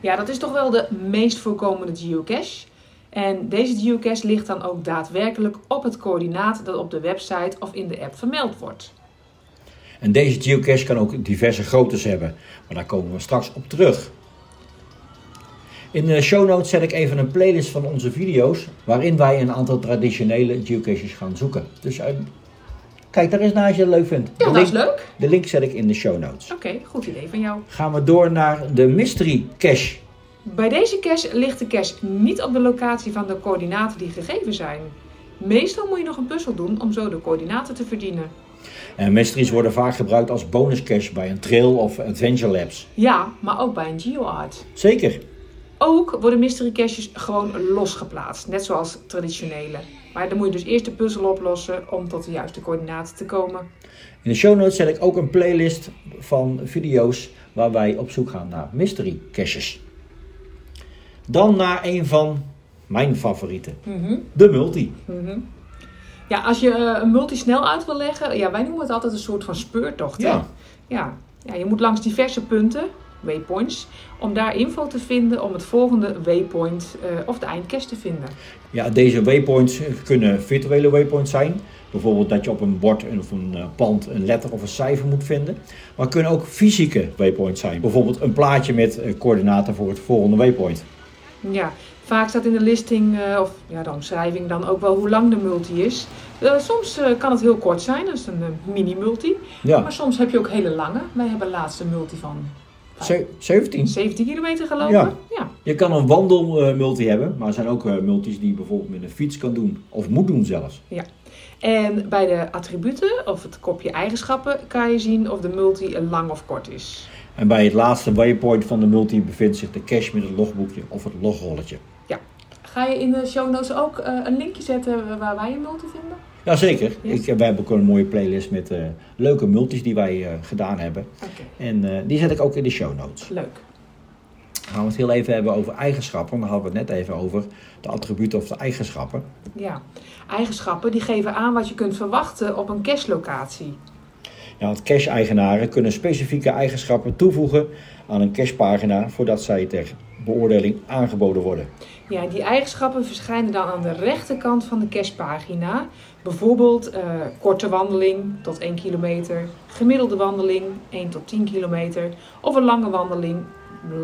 S3: Ja, dat is toch wel de meest voorkomende geocache. En deze geocache ligt dan ook daadwerkelijk op het coördinaat dat op de website of in de app vermeld wordt.
S2: En deze geocache kan ook diverse groottes hebben, maar daar komen we straks op terug. In de show notes zet ik even een playlist van onze video's waarin wij een aantal traditionele geocaches gaan zoeken. Dus eh, kijk daar eens naar als je het leuk vindt.
S3: Ja,
S2: De
S3: dat is
S2: link-
S3: leuk.
S2: De link zet ik in de show notes.
S3: Oké, goed idee van jou.
S2: Gaan we door naar de mystery cache.
S3: Bij deze cache ligt de cache niet op de locatie van de coördinaten die gegeven zijn. Meestal moet je nog een puzzel doen om zo de coördinaten te verdienen.
S2: En mysteries worden vaak gebruikt als bonus cache bij een trail of adventure labs.
S3: Ja, maar ook bij een geoart.
S2: Zeker.
S3: Ook worden mystery caches gewoon losgeplaatst, net zoals traditionele. Maar dan moet je dus eerst de puzzel oplossen om tot de juiste coördinaten te komen.
S2: In de show notes zet ik ook een playlist van video's waar wij op zoek gaan naar mystery caches. Dan naar een van mijn favorieten,
S3: Mhm,
S2: de multi.
S3: mhm. Ja, als je eh, een multi snel uit wil leggen, ja, wij noemen het altijd een soort van speurtocht. hè?
S2: Ja.
S3: Ja. ja, je moet langs diverse punten, waypoints, om daar info te vinden om het volgende waypoint eh, of de eindcache te vinden.
S2: Ja, deze waypoints kunnen virtuele waypoints zijn. Bijvoorbeeld dat je op een bord of een eh, pand een letter of een cijfer moet vinden. Maar kunnen ook fysieke waypoints zijn. Bijvoorbeeld een plaatje met eh, coördinaten voor het volgende waypoint.
S3: Ja, vaak staat in de listing eh, of ja, de omschrijving dan ook wel hoe lang de multi is. Eh, soms eh, kan het heel kort zijn, dat is een eh, mini-multi.
S2: Ja.
S3: Maar soms heb je ook hele lange. Wij hebben laatst een multi van
S2: Ze- 17.
S3: 17 kilometer gelopen.
S2: Ja.
S3: ja.
S2: Je kan een wandelmulti hebben, maar er zijn ook eh, multis die je bijvoorbeeld met een fiets kan doen. Of moet doen zelfs.
S3: Ja. En bij de attributen of het kopje eigenschappen kan je zien of de multi lang of kort is.
S2: En bij het laatste waypoint van de multi bevindt zich de cache met het logboekje of het logrolletje.
S3: Ga je in de show notes ook eh, een linkje zetten waar wij een multi vinden?
S2: Jazeker.
S3: Yes.
S2: Ik, eh, wij hebben ook een mooie playlist met eh, leuke multis die wij eh, gedaan hebben. En eh, die zet ik ook in de show notes.
S3: Leuk.
S2: Gaan we het heel even hebben over eigenschappen. Daar hadden we het net even over de attributen of de eigenschappen.
S3: Ja. Eigenschappen die geven aan wat je kunt verwachten op een cashlocatie.
S2: Ja, want cache-eigenaren kunnen specifieke eigenschappen toevoegen aan een cachepagina voordat zij ter beoordeling aangeboden worden.
S3: Ja, die eigenschappen verschijnen dan aan de rechterkant van de cashpagina. Bijvoorbeeld eh, korte wandeling tot 1 kilometer, gemiddelde wandeling 1 tot 10 kilometer of een lange wandeling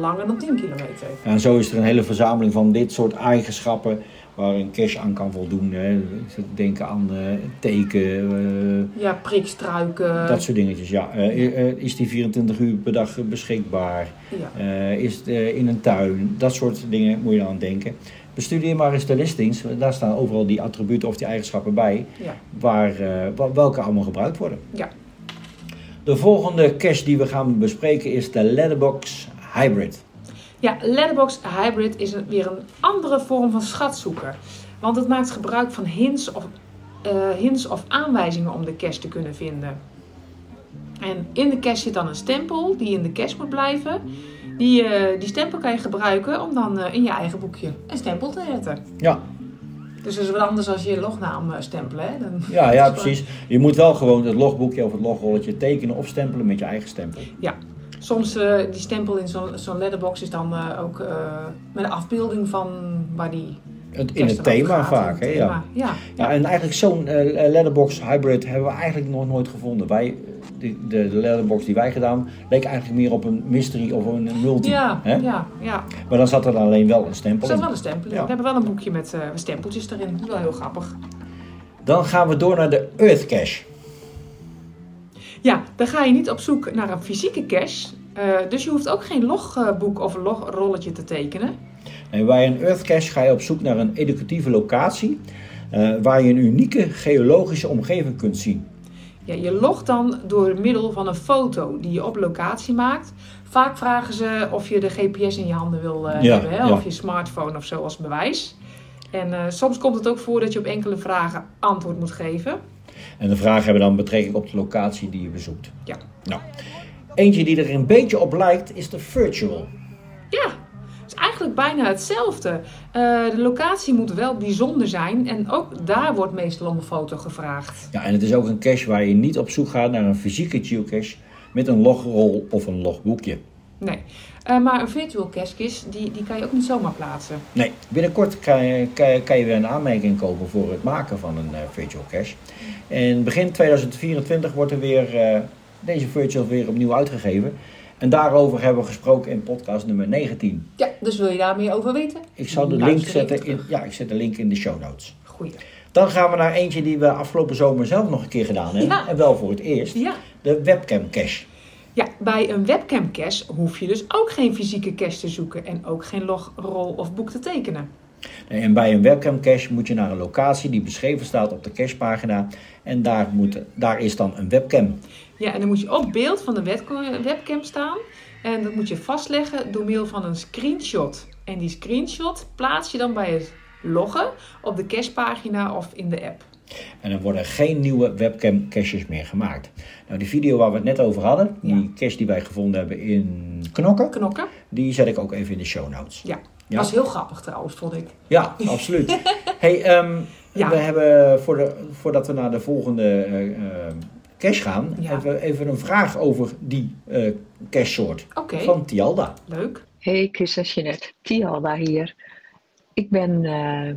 S3: langer dan 10 kilometer.
S2: Ja, En zo is er een hele verzameling van dit soort eigenschappen waar een cache aan kan voldoen. Hè. Denk aan eh, teken, eh,
S3: Ja, prikstruiken.
S2: dat soort dingetjes. Ja. Eh, eh, eh, is die 24 uur per dag beschikbaar?
S3: Ja.
S2: Eh, is het eh, in een tuin? Dat soort dingen moet je aan denken. Bestudeer maar eens de listings. Daar staan overal die attributen of die eigenschappen bij.
S3: Ja.
S2: Waar, eh, wa- welke allemaal gebruikt worden.
S3: Ja.
S2: De volgende cache die we gaan bespreken is de Letterbox Hybrid.
S3: Ja, Letterbox Hybrid is een- weer een andere vorm van schatzoeker. Want het maakt gebruik van hints of, eh, hints of aanwijzingen om de cache te kunnen vinden. En in de cache zit dan een stempel die in de cache moet blijven. Die, eh, die stempel kan je gebruiken om dan eh, in je eigen boekje een stempel te zetten.
S2: Ja,
S3: Dus dat is wat anders als je je lognaam eh, stempelen. Hè? Dan-
S2: ja, ja
S3: dat is
S2: precies. Je moet wel gewoon het logboekje of het logrolletje tekenen of stempelen met je eigen stempel.
S3: Ja, soms eh, die stempel in zo'n zo'n letterbox is dan eh, ook eh, met een afbeelding van waar die.
S2: Het- in
S3: kerst
S2: het
S3: dan over
S2: thema
S3: gaat,
S2: vaak,
S3: in
S2: hè,
S3: het
S2: ja.
S3: thema. ja.
S2: Ja, en eigenlijk zo'n eh, letterbox hybrid hebben we eigenlijk nog nooit gevonden. Wij, de, de de letterbox die wij gedaan, leek eigenlijk meer op een mystery of een multi.
S3: Ja,
S2: hè?
S3: ja, ja.
S2: Maar dan zat er alleen wel een
S3: Er
S2: stempel
S3: staat
S2: in.
S3: wel een stempel in.
S2: Ja.
S3: We hebben wel een boekje met eh, stempeltjes erin. Dat is wel heel grappig.
S2: Dan gaan we door naar de Earth Cache.
S3: Ja, dan ga je niet op zoek naar een fysieke cache. eh, dus je hoeft ook geen logboek of een logrolletje te tekenen.
S2: En bij een Earth Cache ga je op zoek naar een educatieve locatie eh, waar je een unieke geologische omgeving kunt zien.
S3: Ja, je logt dan door middel van een foto die je op locatie maakt. Vaak vragen ze of je de GPS in je handen wil eh,
S2: Ja,
S3: hebben, hè,
S2: ja.
S3: of je smartphone of zo als bewijs. En eh, soms komt het ook voor dat je op enkele vragen antwoord moet geven.
S2: En de vragen hebben dan betrekking op de locatie die je bezoekt.
S3: Ja.
S2: Nou, eentje die er een beetje op lijkt is de Virtual.
S3: Ja, het is eigenlijk bijna hetzelfde. Eh, de locatie moet wel bijzonder zijn en ook daar wordt meestal om een foto gevraagd.
S2: Ja, en het is ook een cache waar je niet op zoek gaat naar een fysieke geocache met een logrol of een logboekje.
S3: Nee. Eh, maar een virtual cache die, die kan je ook niet zomaar plaatsen.
S2: Nee, binnenkort kan je, kan, je- kan je weer een aanmerking komen voor het maken van een eh, virtual cache. En begin 2024 wordt er weer eh, deze virtual weer opnieuw uitgegeven. En daarover hebben we gesproken in podcast nummer 19.
S3: Ja, dus wil je daar meer over weten?
S2: Ik zal de
S3: Luister
S2: link
S3: even
S2: zetten in, ja, ik zet de link in de show notes.
S3: Goeie.
S2: Dan gaan we naar eentje die we afgelopen zomer zelf nog een keer gedaan hebben.
S3: Ja.
S2: En wel voor het eerst.
S3: Ja.
S2: De webcam cache.
S3: Ja, bij een webcam cache hoef je dus ook geen fysieke cache te zoeken en ook geen log, rol of boek te tekenen.
S2: En bij een webcam cache moet je naar een locatie die beschreven staat op de cachepagina. En daar, moet, daar is dan een webcam.
S3: Ja, en dan moet je op beeld van de webco- webcam staan en dat moet je vastleggen door middel van een screenshot. En die screenshot plaats je dan bij het loggen op de cachepagina of in de app.
S2: En er worden geen nieuwe webcam caches meer gemaakt. Nou, die video waar we het net over hadden, die cache die wij gevonden hebben in Knokken,
S3: Knokken.
S2: die zet ik ook even in de show notes.
S3: Ja,
S2: Ja.
S3: was heel grappig trouwens, vond ik.
S2: Ja, absoluut. hey, ehm,
S3: Ja.
S2: we hebben voor de, voordat we naar de volgende eh, eh, cache gaan,
S3: Ja.
S2: hebben we even een vraag over die eh cache soort
S4: Oké.
S2: van Tialda.
S3: Leuk.
S4: Hey Chris en Jeanette, Tialda hier. Ik ben eh,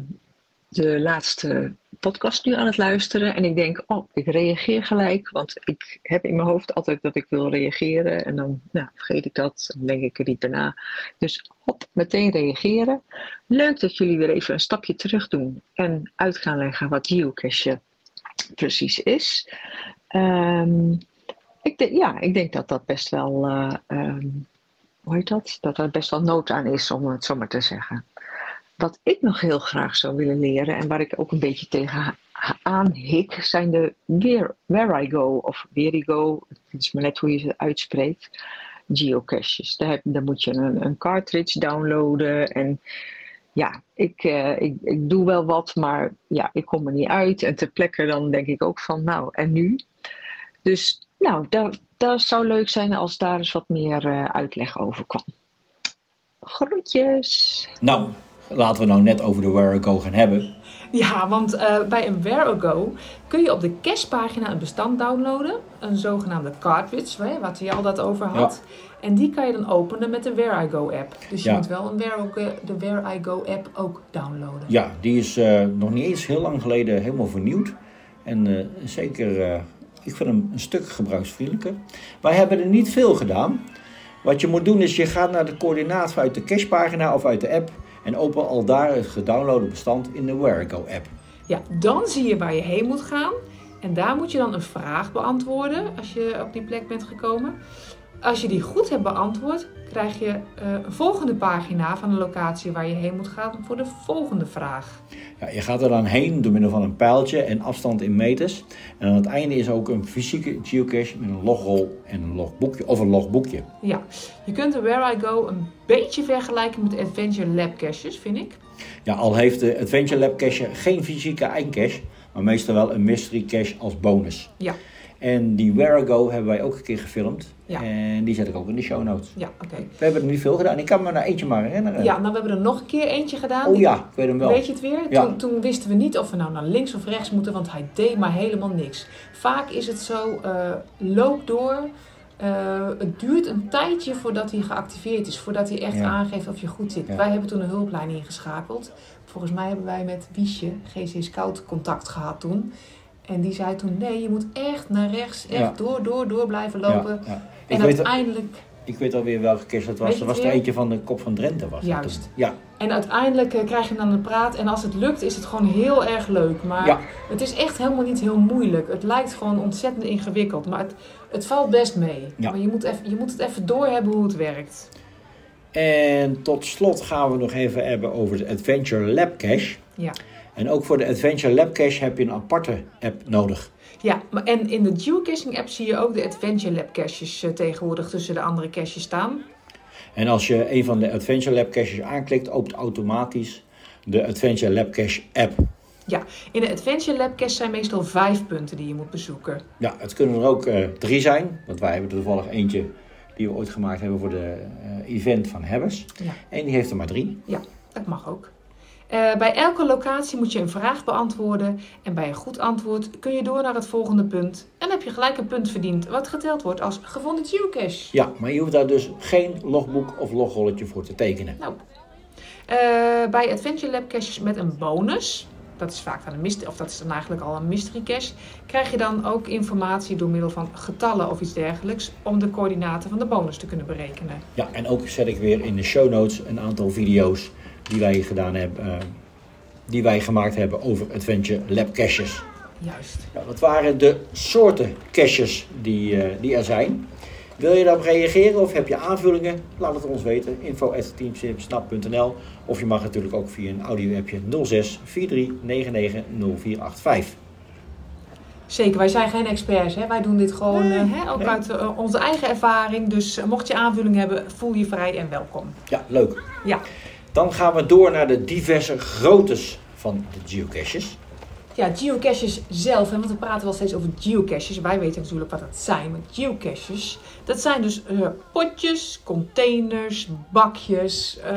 S4: de laatste podcast nu aan het luisteren en ik denk, oh, ik reageer gelijk, want ik heb in mijn hoofd altijd dat ik wil reageren en dan nou, vergeet ik dat, dan denk ik er niet daarna. Dus hop, meteen reageren. Leuk dat jullie weer even een stapje terug doen en uit gaan leggen wat geocache precies is. Ehm, ik denk, ja, ik denk dat dat best wel eh, ehm, hoe heet dat? Dat er best wel nood aan is, om het zo maar te zeggen. Wat ik nog heel graag zou willen leren en waar ik ook een beetje tegen ha- aan hik, zijn de Where, where I Go of Where I Go, het is maar net hoe je ze uitspreekt, geocaches. Daar, heb, daar moet je een, een cartridge downloaden en ja, ik, eh, ik, ik doe wel wat, maar ja, ik kom er niet uit. En ter plekke dan denk ik ook van, nou, en nu? Dus nou, dat, dat zou leuk zijn als daar eens wat meer eh, uitleg over kwam. Groetjes!
S2: Nou, laten we nou net over de Where I Go gaan hebben.
S3: Ja, want eh, bij een Where Go kun je op de cachepagina een bestand downloaden. Een zogenaamde cartridge, hè, wat je al dat over had. En die kan je dan openen met de Where I Go app. Dus je
S2: Ja.
S3: moet wel een Where I Go, de Where I Go app ook downloaden.
S2: Ja, die is eh, nog niet eens heel lang geleden helemaal vernieuwd. En eh, zeker, eh, ik vind hem een stuk gebruiksvriendelijker. Wij hebben er niet veel gedaan. Wat je moet doen is, je gaat naar de coördinaat vanuit de cachepagina of uit de app... en open al daar het gedownloade bestand in de Where I Go app.
S3: Ja, dan zie je waar je heen moet gaan. En daar moet je dan een vraag beantwoorden als je op die plek bent gekomen. Als je die goed hebt beantwoord, krijg je eh, een volgende pagina van de locatie waar je heen moet gaan voor de volgende vraag.
S2: Ja, je gaat er dan heen door middel van een pijltje en afstand in meters. En aan het einde is ook een fysieke geocache met een logrol en een logboekje of een logboekje.
S3: Ja, je kunt de Where I Go een beetje vergelijken met Adventure Lab caches, vind ik.
S2: Ja, al heeft de Adventure Lab cache geen fysieke eindcache, maar meestal wel een mystery cache als bonus.
S3: Ja,
S2: En die Where I Go hebben wij ook een keer gefilmd.
S3: Ja.
S2: En die zet ik ook in de show notes.
S3: ja, oké.
S2: We hebben er niet veel gedaan. Ik kan me naar eentje maar herinneren.
S3: Ja, nou we hebben er nog een keer eentje gedaan.
S2: Oh ja, ik weet hem wel.
S3: Weet je het weer?
S2: Ja.
S3: Toen, toen wisten we niet of we nou naar links of rechts moeten, want hij deed maar helemaal niks. Vaak is het zo, eh, loop door. Eh, het duurt een tijdje voordat hij geactiveerd is, voordat hij echt
S2: Ja.
S3: aangeeft of je goed zit.
S2: Ja.
S3: Wij hebben toen een hulplijn ingeschakeld. Volgens mij hebben wij met Wiesje, GC Scout, contact gehad toen. En die zei toen, nee, je moet echt naar rechts, echt
S2: Ja.
S3: door, door, door blijven lopen.
S2: ja. Ik
S3: En
S2: weet-
S3: uiteindelijk
S2: Ik weet alweer welke cache dat was.
S3: Weet je
S2: Dat
S3: het
S2: was er
S3: weer?
S2: eentje van de kop van Drenthe. Was dat
S3: Juist.
S2: toen. Ja.
S3: En uiteindelijk eh, krijg je hem aan de praat. En als het lukt, is het gewoon heel erg leuk. Maar
S2: Ja.
S3: het is echt helemaal niet heel moeilijk. Het lijkt gewoon ontzettend ingewikkeld. Maar het, het valt best mee.
S2: Ja.
S3: Maar je moet, even, je moet het even doorhebben hoe het werkt.
S2: En tot slot gaan we nog even hebben over de Adventure Lab cache.
S3: Ja.
S2: En ook voor de Adventure Lab cache heb je een aparte app nodig.
S3: Ja, maar en in de geocaching app zie je ook de Adventure Lab caches eh, tegenwoordig tussen de andere caches staan.
S2: En als je een van de Adventure Lab caches aanklikt, opent automatisch de Adventure Lab cache app.
S3: Ja, in de Adventure Lab caches zijn meestal vijf punten die je moet bezoeken.
S2: Ja, het kunnen er ook eh, drie zijn, want wij hebben er toevallig eentje die we ooit gemaakt hebben voor de eh, event van Hebbers.
S3: Ja.
S2: En die heeft er maar drie.
S3: Ja, dat mag ook. Eh, bij elke locatie moet je een vraag beantwoorden en bij een goed antwoord kun je door naar het volgende punt. En heb je gelijk een punt verdiend wat geteld wordt als gevonden geocache.
S2: Ja, maar je hoeft daar dus geen logboek of logrolletje voor te tekenen.
S3: Nou, eh, bij Adventure Lab caches met een bonus, dat is vaak dan een mystery, of dat is dan eigenlijk al een mystery cache, krijg je dan ook informatie door middel van getallen of iets dergelijks om de coördinaten van de bonus te kunnen berekenen.
S2: Ja, en ook zet ik weer in de show notes een aantal video's die wij gedaan hebben, eh, die wij gemaakt hebben over Adventure Lab caches.
S3: Juist.
S2: Ja, dat waren de soorten caches die, eh, die er zijn. Wil je daarop reageren of heb je aanvullingen? Laat het ons weten. info.teamsnap.nl Of je mag natuurlijk ook via een audio-appje 06 43 99 0485.
S3: Zeker, wij zijn geen experts. Hè? Wij doen dit gewoon eh, hè, ook uit eh, onze eigen ervaring. Dus eh, mocht je aanvulling hebben, voel je vrij en welkom.
S2: Ja, leuk.
S3: Ja.
S2: Dan gaan we door naar de diverse groottes van de geocaches.
S3: Ja, geocaches zelf, hè, want we praten wel steeds over geocaches. Wij weten natuurlijk wat dat zijn, maar geocaches, dat zijn dus eh, potjes, containers, bakjes, eh,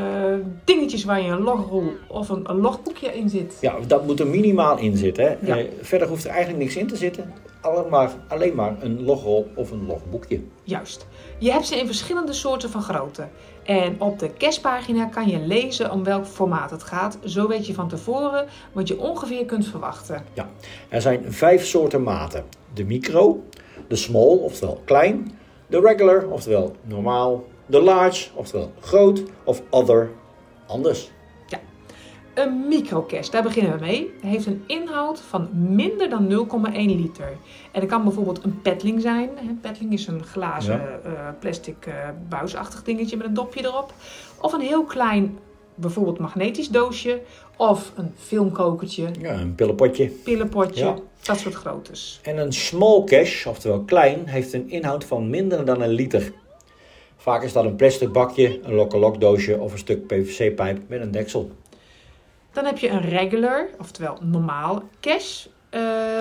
S3: dingetjes waar je een logrol of een, een logboekje in zit.
S2: Ja, dat moet er minimaal in zitten. Hè?
S3: Ja.
S2: Eh, verder hoeft er eigenlijk niks in te zitten. Alleen maar, alleen maar een logrol of een logboekje.
S3: Juist. Je hebt ze in verschillende soorten van grootte. En op de cachepagina kan je lezen om welk formaat het gaat. Zo weet je van tevoren wat je ongeveer kunt verwachten.
S2: Ja. Er zijn vijf soorten maten. De micro, de small, oftewel klein, de regular, oftewel normaal, de large, oftewel groot, of other, anders.
S3: Een microcache, daar beginnen we mee, heeft een inhoud van minder dan 0,1 liter. En dat kan bijvoorbeeld een petling zijn. hè. Petling is een glazen eh, plastic eh, buisachtig dingetje met een dopje erop. Of een heel klein, bijvoorbeeld magnetisch doosje. Of een filmkokertje,
S2: Ja, een pillenpotje.
S3: pillenpotje,
S2: Ja.
S3: dat soort groottes.
S2: En een small cache, oftewel klein, heeft een inhoud van minder dan een liter. Vaak is dat een plastic bakje, een lokkelok doosje of een stuk PVC-pijp met een deksel.
S3: Dan heb je een regular, oftewel normaal cache. Eh,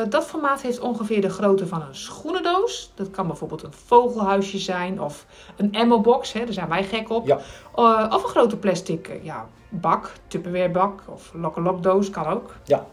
S3: dat formaat heeft ongeveer de grootte van een schoenendoos. Dat kan bijvoorbeeld een vogelhuisje zijn of een ammo-box, hè, daar zijn wij gek op. Eh, of een grote plastic eh, ja, bak, Tupperware bak of lokkelokdoos kan ook.
S2: Ja.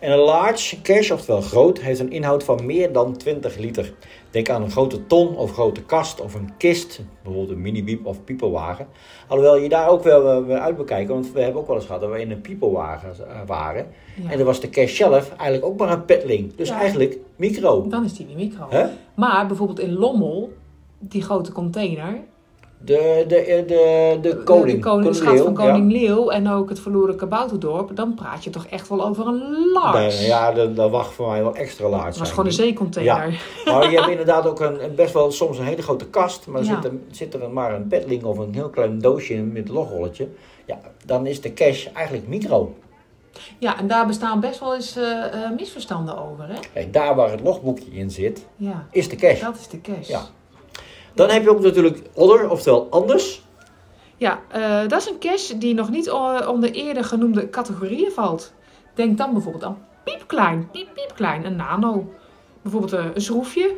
S2: En een large cache, oftewel groot, heeft een inhoud van meer dan 20 liter. Denk aan een grote ton of grote kast of een kist, bijvoorbeeld een mini-biep of piepelwagen. Alhoewel je daar ook wel eh, weer uit moet kijken, want we hebben ook wel eens gehad dat we in een piepelwagen eh, waren.
S3: Ja.
S2: En dan was de cache zelf eigenlijk ook maar een petling. Dus
S3: Ja.
S2: eigenlijk micro.
S3: Dan is die weer micro.
S2: Hè?
S3: Maar bijvoorbeeld in Lommel, die grote container,
S2: De, de, eh, de, de, de koning.
S3: de, koning, de
S2: Koning
S3: schat van
S2: Leeuw, ja.
S3: koning Leeuw en ook het verloren kabouterdorp, dan praat je toch echt wel over een large.
S2: Nee, ja, dat, dat wacht voor mij wel extra large.
S3: Het was
S2: zijn.
S3: gewoon een zeecontainer.
S2: Ja. Maar je hebt inderdaad ook een, een best wel soms een hele grote kast. Maar
S3: Ja.
S2: zit, er, zit er maar een petling of een heel klein doosje in met logrolletje. Ja, dan is de cash eigenlijk micro.
S3: Ja, en daar bestaan best wel eens eh, eh, misverstanden over, hè?
S2: Kijk, daar waar het logboekje in zit,
S3: Ja.
S2: is de cash.
S3: Dat is de cash.
S2: Ja. Dan heb je ook natuurlijk other, oftewel anders.
S3: Ja, eh, dat is een cache die nog niet o- onder eerder genoemde categorieën valt. Denk dan bijvoorbeeld aan piepklein, piep, piepklein, een nano. Bijvoorbeeld eh, een schroefje.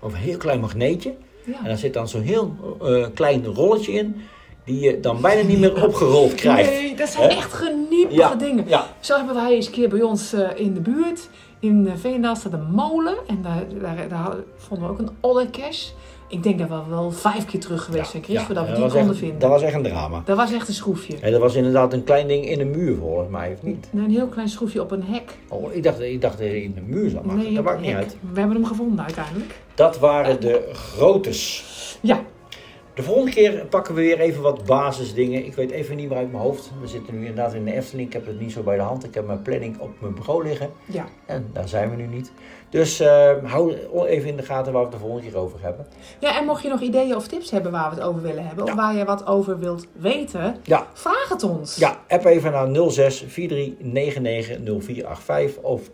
S2: Of een heel klein magneetje.
S3: Ja.
S2: En daar zit dan zo'n heel eh, klein rolletje in. Die je dan bijna niet meer opgerold krijgt.
S3: Nee, dat zijn
S2: Hè?
S3: echt geniepige
S2: Ja,
S3: dingen.
S2: ja.
S3: Zo hebben wij eens een keer bij ons eh, in de buurt, in eh, Veenendaal, staat een molen. En daar, daar, daar vonden we ook een olle cache. Ik denk dat we wel vijf keer terug geweest zijn, Chris, voordat we die
S2: was echt-
S3: konden vinden.
S2: dat was echt een drama.
S3: Dat was echt een schroefje.
S2: En dat was inderdaad een klein ding in de muur volgens mij, of niet?
S3: Nee, een heel klein schroefje op een hek.
S2: Oh, ik dacht, ik dacht dat hij in de muur zat, maar
S3: nee,
S2: dat
S3: op
S2: maakt
S3: een
S2: niet
S3: hek.
S2: uit.
S3: We hebben hem gevonden uiteindelijk.
S2: Dat waren de grootes.
S3: Ja.
S2: De volgende keer pakken we weer even wat basisdingen. Ik weet even niet meer uit mijn hoofd. We zitten nu inderdaad in de Efteling. Ik heb het niet zo bij de hand. Ik heb mijn planning op mijn bureau liggen.
S3: Ja.
S2: En daar zijn we nu niet. Dus eh, hou even in de gaten waar we het de volgende keer over hebben.
S3: Ja, en mocht je nog ideeën of tips hebben waar we het over willen hebben, of waar je wat over wilt weten,
S2: Ja.
S3: vraag het ons.
S2: Ja, app even naar 06 43 99 0485 of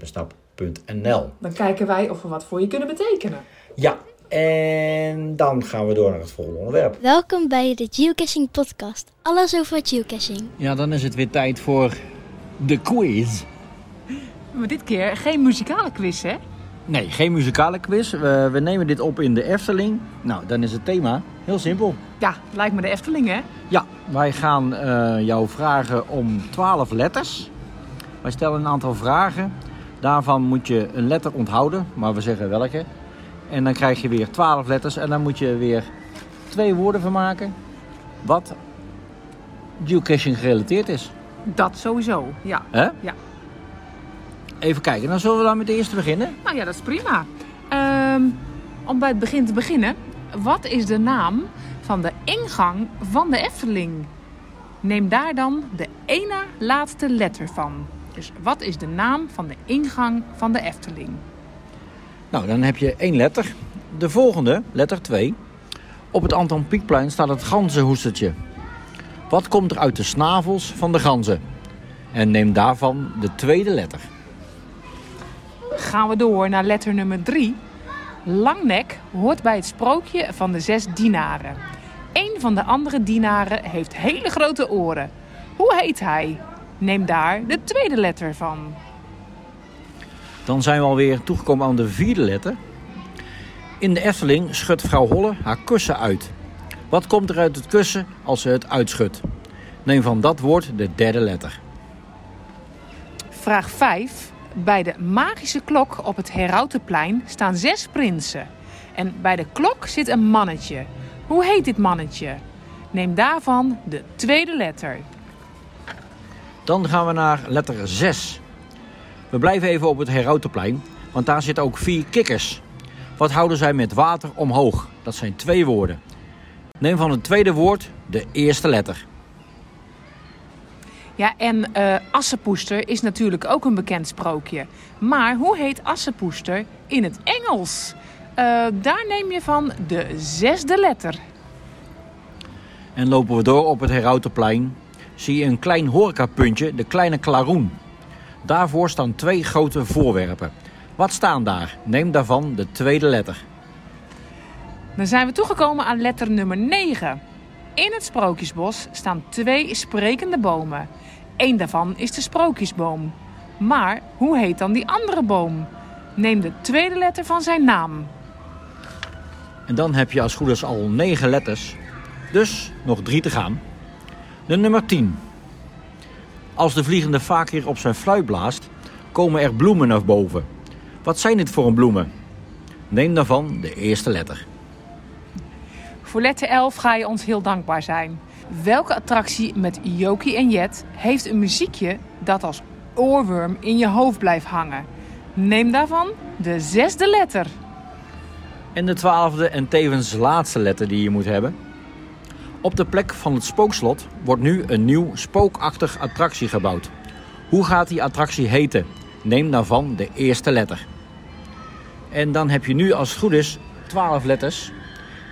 S2: info.teamsnippensnap.nl
S3: Dan kijken wij of we wat voor je kunnen betekenen.
S2: Ja, en dan gaan we door naar het volgende onderwerp.
S18: Welkom bij de Geocaching Podcast. Alles over geocaching.
S19: Ja, dan is het weer tijd voor de quiz.
S3: Maar dit keer geen muzikale quiz, hè?
S2: Nee, geen muzikale quiz. We, we nemen dit op in de Efteling. Nou, dan is het thema heel simpel.
S3: Ja, lijkt me de Efteling, hè?
S2: Ja, wij gaan eh, jou vragen om 12 letters. Wij stellen een aantal vragen. Daarvan moet je een letter onthouden, maar we zeggen welke. En dan krijg je weer 12 letters en dan moet je weer twee woorden van maken. Wat geocaching gerelateerd is.
S3: Dat sowieso, ja.
S2: Hè?
S3: Ja.
S2: Even kijken, dan zullen we dan met de eerste beginnen.
S3: Nou ja, dat is prima. Ehm, om bij het begin te beginnen. Wat is de naam van de ingang van de Efteling? Neem daar dan de ene laatste letter van. Dus wat is de naam van de ingang van de Efteling?
S2: Nou, dan heb je één letter. De volgende, letter 2. Op het Anton Pieckplein staat het ganzenhoestertje. Wat komt er uit de snavels van de ganzen? En neem daarvan de tweede letter.
S3: Gaan we door naar letter nummer 3. Langnek hoort bij het sprookje van de zes dienaren. Eén van de andere dienaren heeft hele grote oren. Hoe heet hij? Neem daar de tweede letter van.
S2: Dan zijn we alweer toegekomen aan de vierde letter. In de Efteling schudt vrouw Holle haar kussen uit. Wat komt er uit het kussen als ze het uitschudt? Neem van dat woord de derde letter.
S3: Vraag 5. Bij de magische klok op het Herautenplein staan zes prinsen. En bij de klok zit een mannetje. Hoe heet dit mannetje? Neem daarvan de tweede letter.
S2: Dan gaan we naar letter 6. We blijven even op het Herautenplein, want daar zitten ook vier kikkers. Wat houden zij met water omhoog? Dat zijn twee woorden. Neem van het tweede woord de eerste letter.
S3: Ja, en eh assenpoester is natuurlijk ook een bekend sprookje. Maar hoe heet assenpoester in het Engels? Eh, daar neem je van de zesde letter.
S2: En lopen we door op het Herautenplein, zie je een klein horecapuntje, de kleine klaroen. Daarvoor staan twee grote voorwerpen. Wat staan daar? Neem daarvan de tweede letter.
S3: Dan zijn we toegekomen aan letter nummer 9. In het sprookjesbos staan twee sprekende bomen. Eén daarvan is de sprookjesboom. Maar hoe heet dan die andere boom? Neem de tweede letter van zijn naam.
S2: En dan heb je als goed is al 9 letters. Dus nog 3 te gaan. De nummer 10. Als de vliegende vaakheer op zijn fluit blaast, komen er bloemen naar boven. Wat zijn dit voor een bloemen? Neem daarvan de eerste letter.
S3: Voor letter 11 ga je ons heel dankbaar zijn. Welke attractie met Jokie en Jet heeft een muziekje dat als oorworm in je hoofd blijft hangen? Neem daarvan de zesde letter.
S2: En de twaalfde en tevens laatste letter die je moet hebben. Op de plek van het spookslot wordt nu een nieuw spookachtig attractie gebouwd. Hoe gaat die attractie heten? Neem daarvan de eerste letter. En dan heb je nu als het goed is 12 letters.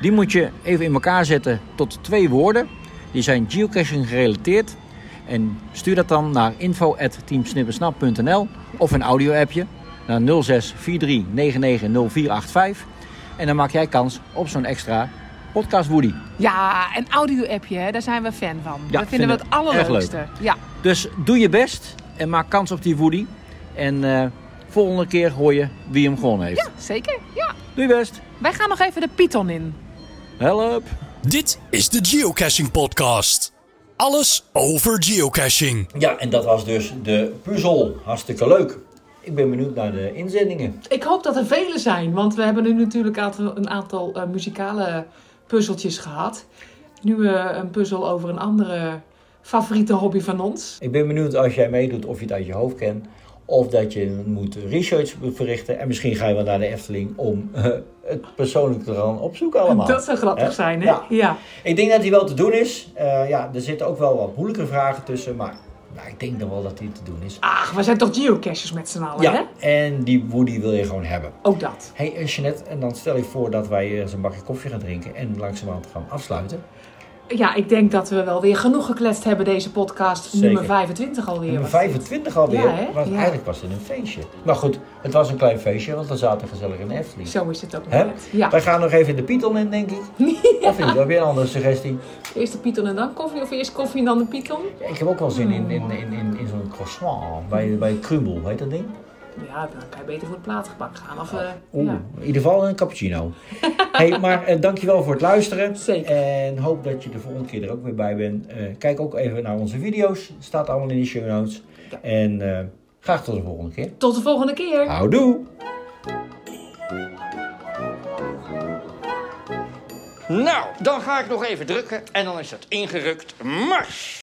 S2: Die moet je even in elkaar zetten tot twee woorden. Die zijn geocaching gerelateerd. En stuur dat dan naar info.teamsnippersnap.nl of een audio-appje naar 06 43 99 0485. En dan maak jij kans op zo'n extra podcast Woody.
S3: Ja, een audio-appje, hè, daar zijn we fan van.
S2: Ja,
S3: dat vinden we het
S2: vinden we erg
S3: allerleukste.
S2: leuk.
S3: Ja.
S2: Dus doe je best en maak kans op die Woody. En eh, volgende keer hoor je wie hem gewonnen heeft.
S3: ja, zeker. Ja.
S2: Doe je best.
S3: Wij gaan nog even de Python in.
S2: Help!
S1: Dit is de Geocaching Podcast. Alles over geocaching.
S2: Ja, en dat was dus de puzzel. Hartstikke leuk. Ik ben benieuwd naar de inzendingen.
S3: Ik hoop dat er vele zijn, want we hebben nu natuurlijk aantal- een aantal eh, muzikale puzzeltjes gehad. Nu eh, een puzzel over een andere favoriete hobby van ons.
S2: Ik ben benieuwd als jij meedoet of je het uit je hoofd kent. Of dat je moet research verrichten. En misschien ga je wel naar de Efteling om eh, het persoonlijk te gaan opzoeken allemaal.
S3: Dat zou grappig
S2: Hè?
S3: zijn, hè?
S2: Ja.
S3: ja.
S2: Ik denk dat die wel te doen is. Eh, ja, er zitten ook wel wat moeilijke vragen tussen. Maar nou, ik denk dan wel dat die te doen is.
S3: Ach, we zijn toch geocachers met z'n allen, hè?
S2: Ja, en die Woody wil je gewoon hebben.
S3: Ook dat.
S2: Hé hey, eh, Jeanette, en dan stel ik voor dat wij eens een bakje koffie gaan drinken en langzamerhand gaan afsluiten.
S3: Ja, ik denk dat we wel weer genoeg gekletst hebben deze podcast.
S2: Zeker.
S3: Nummer 25 alweer.
S2: Nummer
S3: was dit.
S2: 25 alweer,
S3: Ja, hè?
S2: want
S3: Ja.
S2: eigenlijk was het een feestje. Maar goed, het was een klein feestje, want we zaten gezellig in de Efteling.
S3: Zo is het ook
S2: Hè?
S3: net. Ja.
S2: Wij gaan nog even de Python in, denk ik. Of niet? Heb je een andere suggestie?
S3: Eerst de Python en dan koffie, of eerst koffie en dan de Python?
S2: Ik heb ook wel zin in, in, in, in, in zo'n croissant bij, bij Krumel, heet dat ding?
S3: Ja, dan kan je beter voor het plaatgebak gaan. Of, eh,
S2: Oh. Oeh,
S3: ja.
S2: in ieder geval een cappuccino. hey, maar eh, dankjewel voor het luisteren. En hoop dat je de volgende keer er ook weer bij bent. Eh, kijk ook even naar onze video's. Staat allemaal in de show notes. En eh, graag tot de volgende keer.
S3: Tot de volgende keer.
S2: Houdoe!
S20: Nou, dan ga ik nog even drukken en dan is het ingerukt. Mars!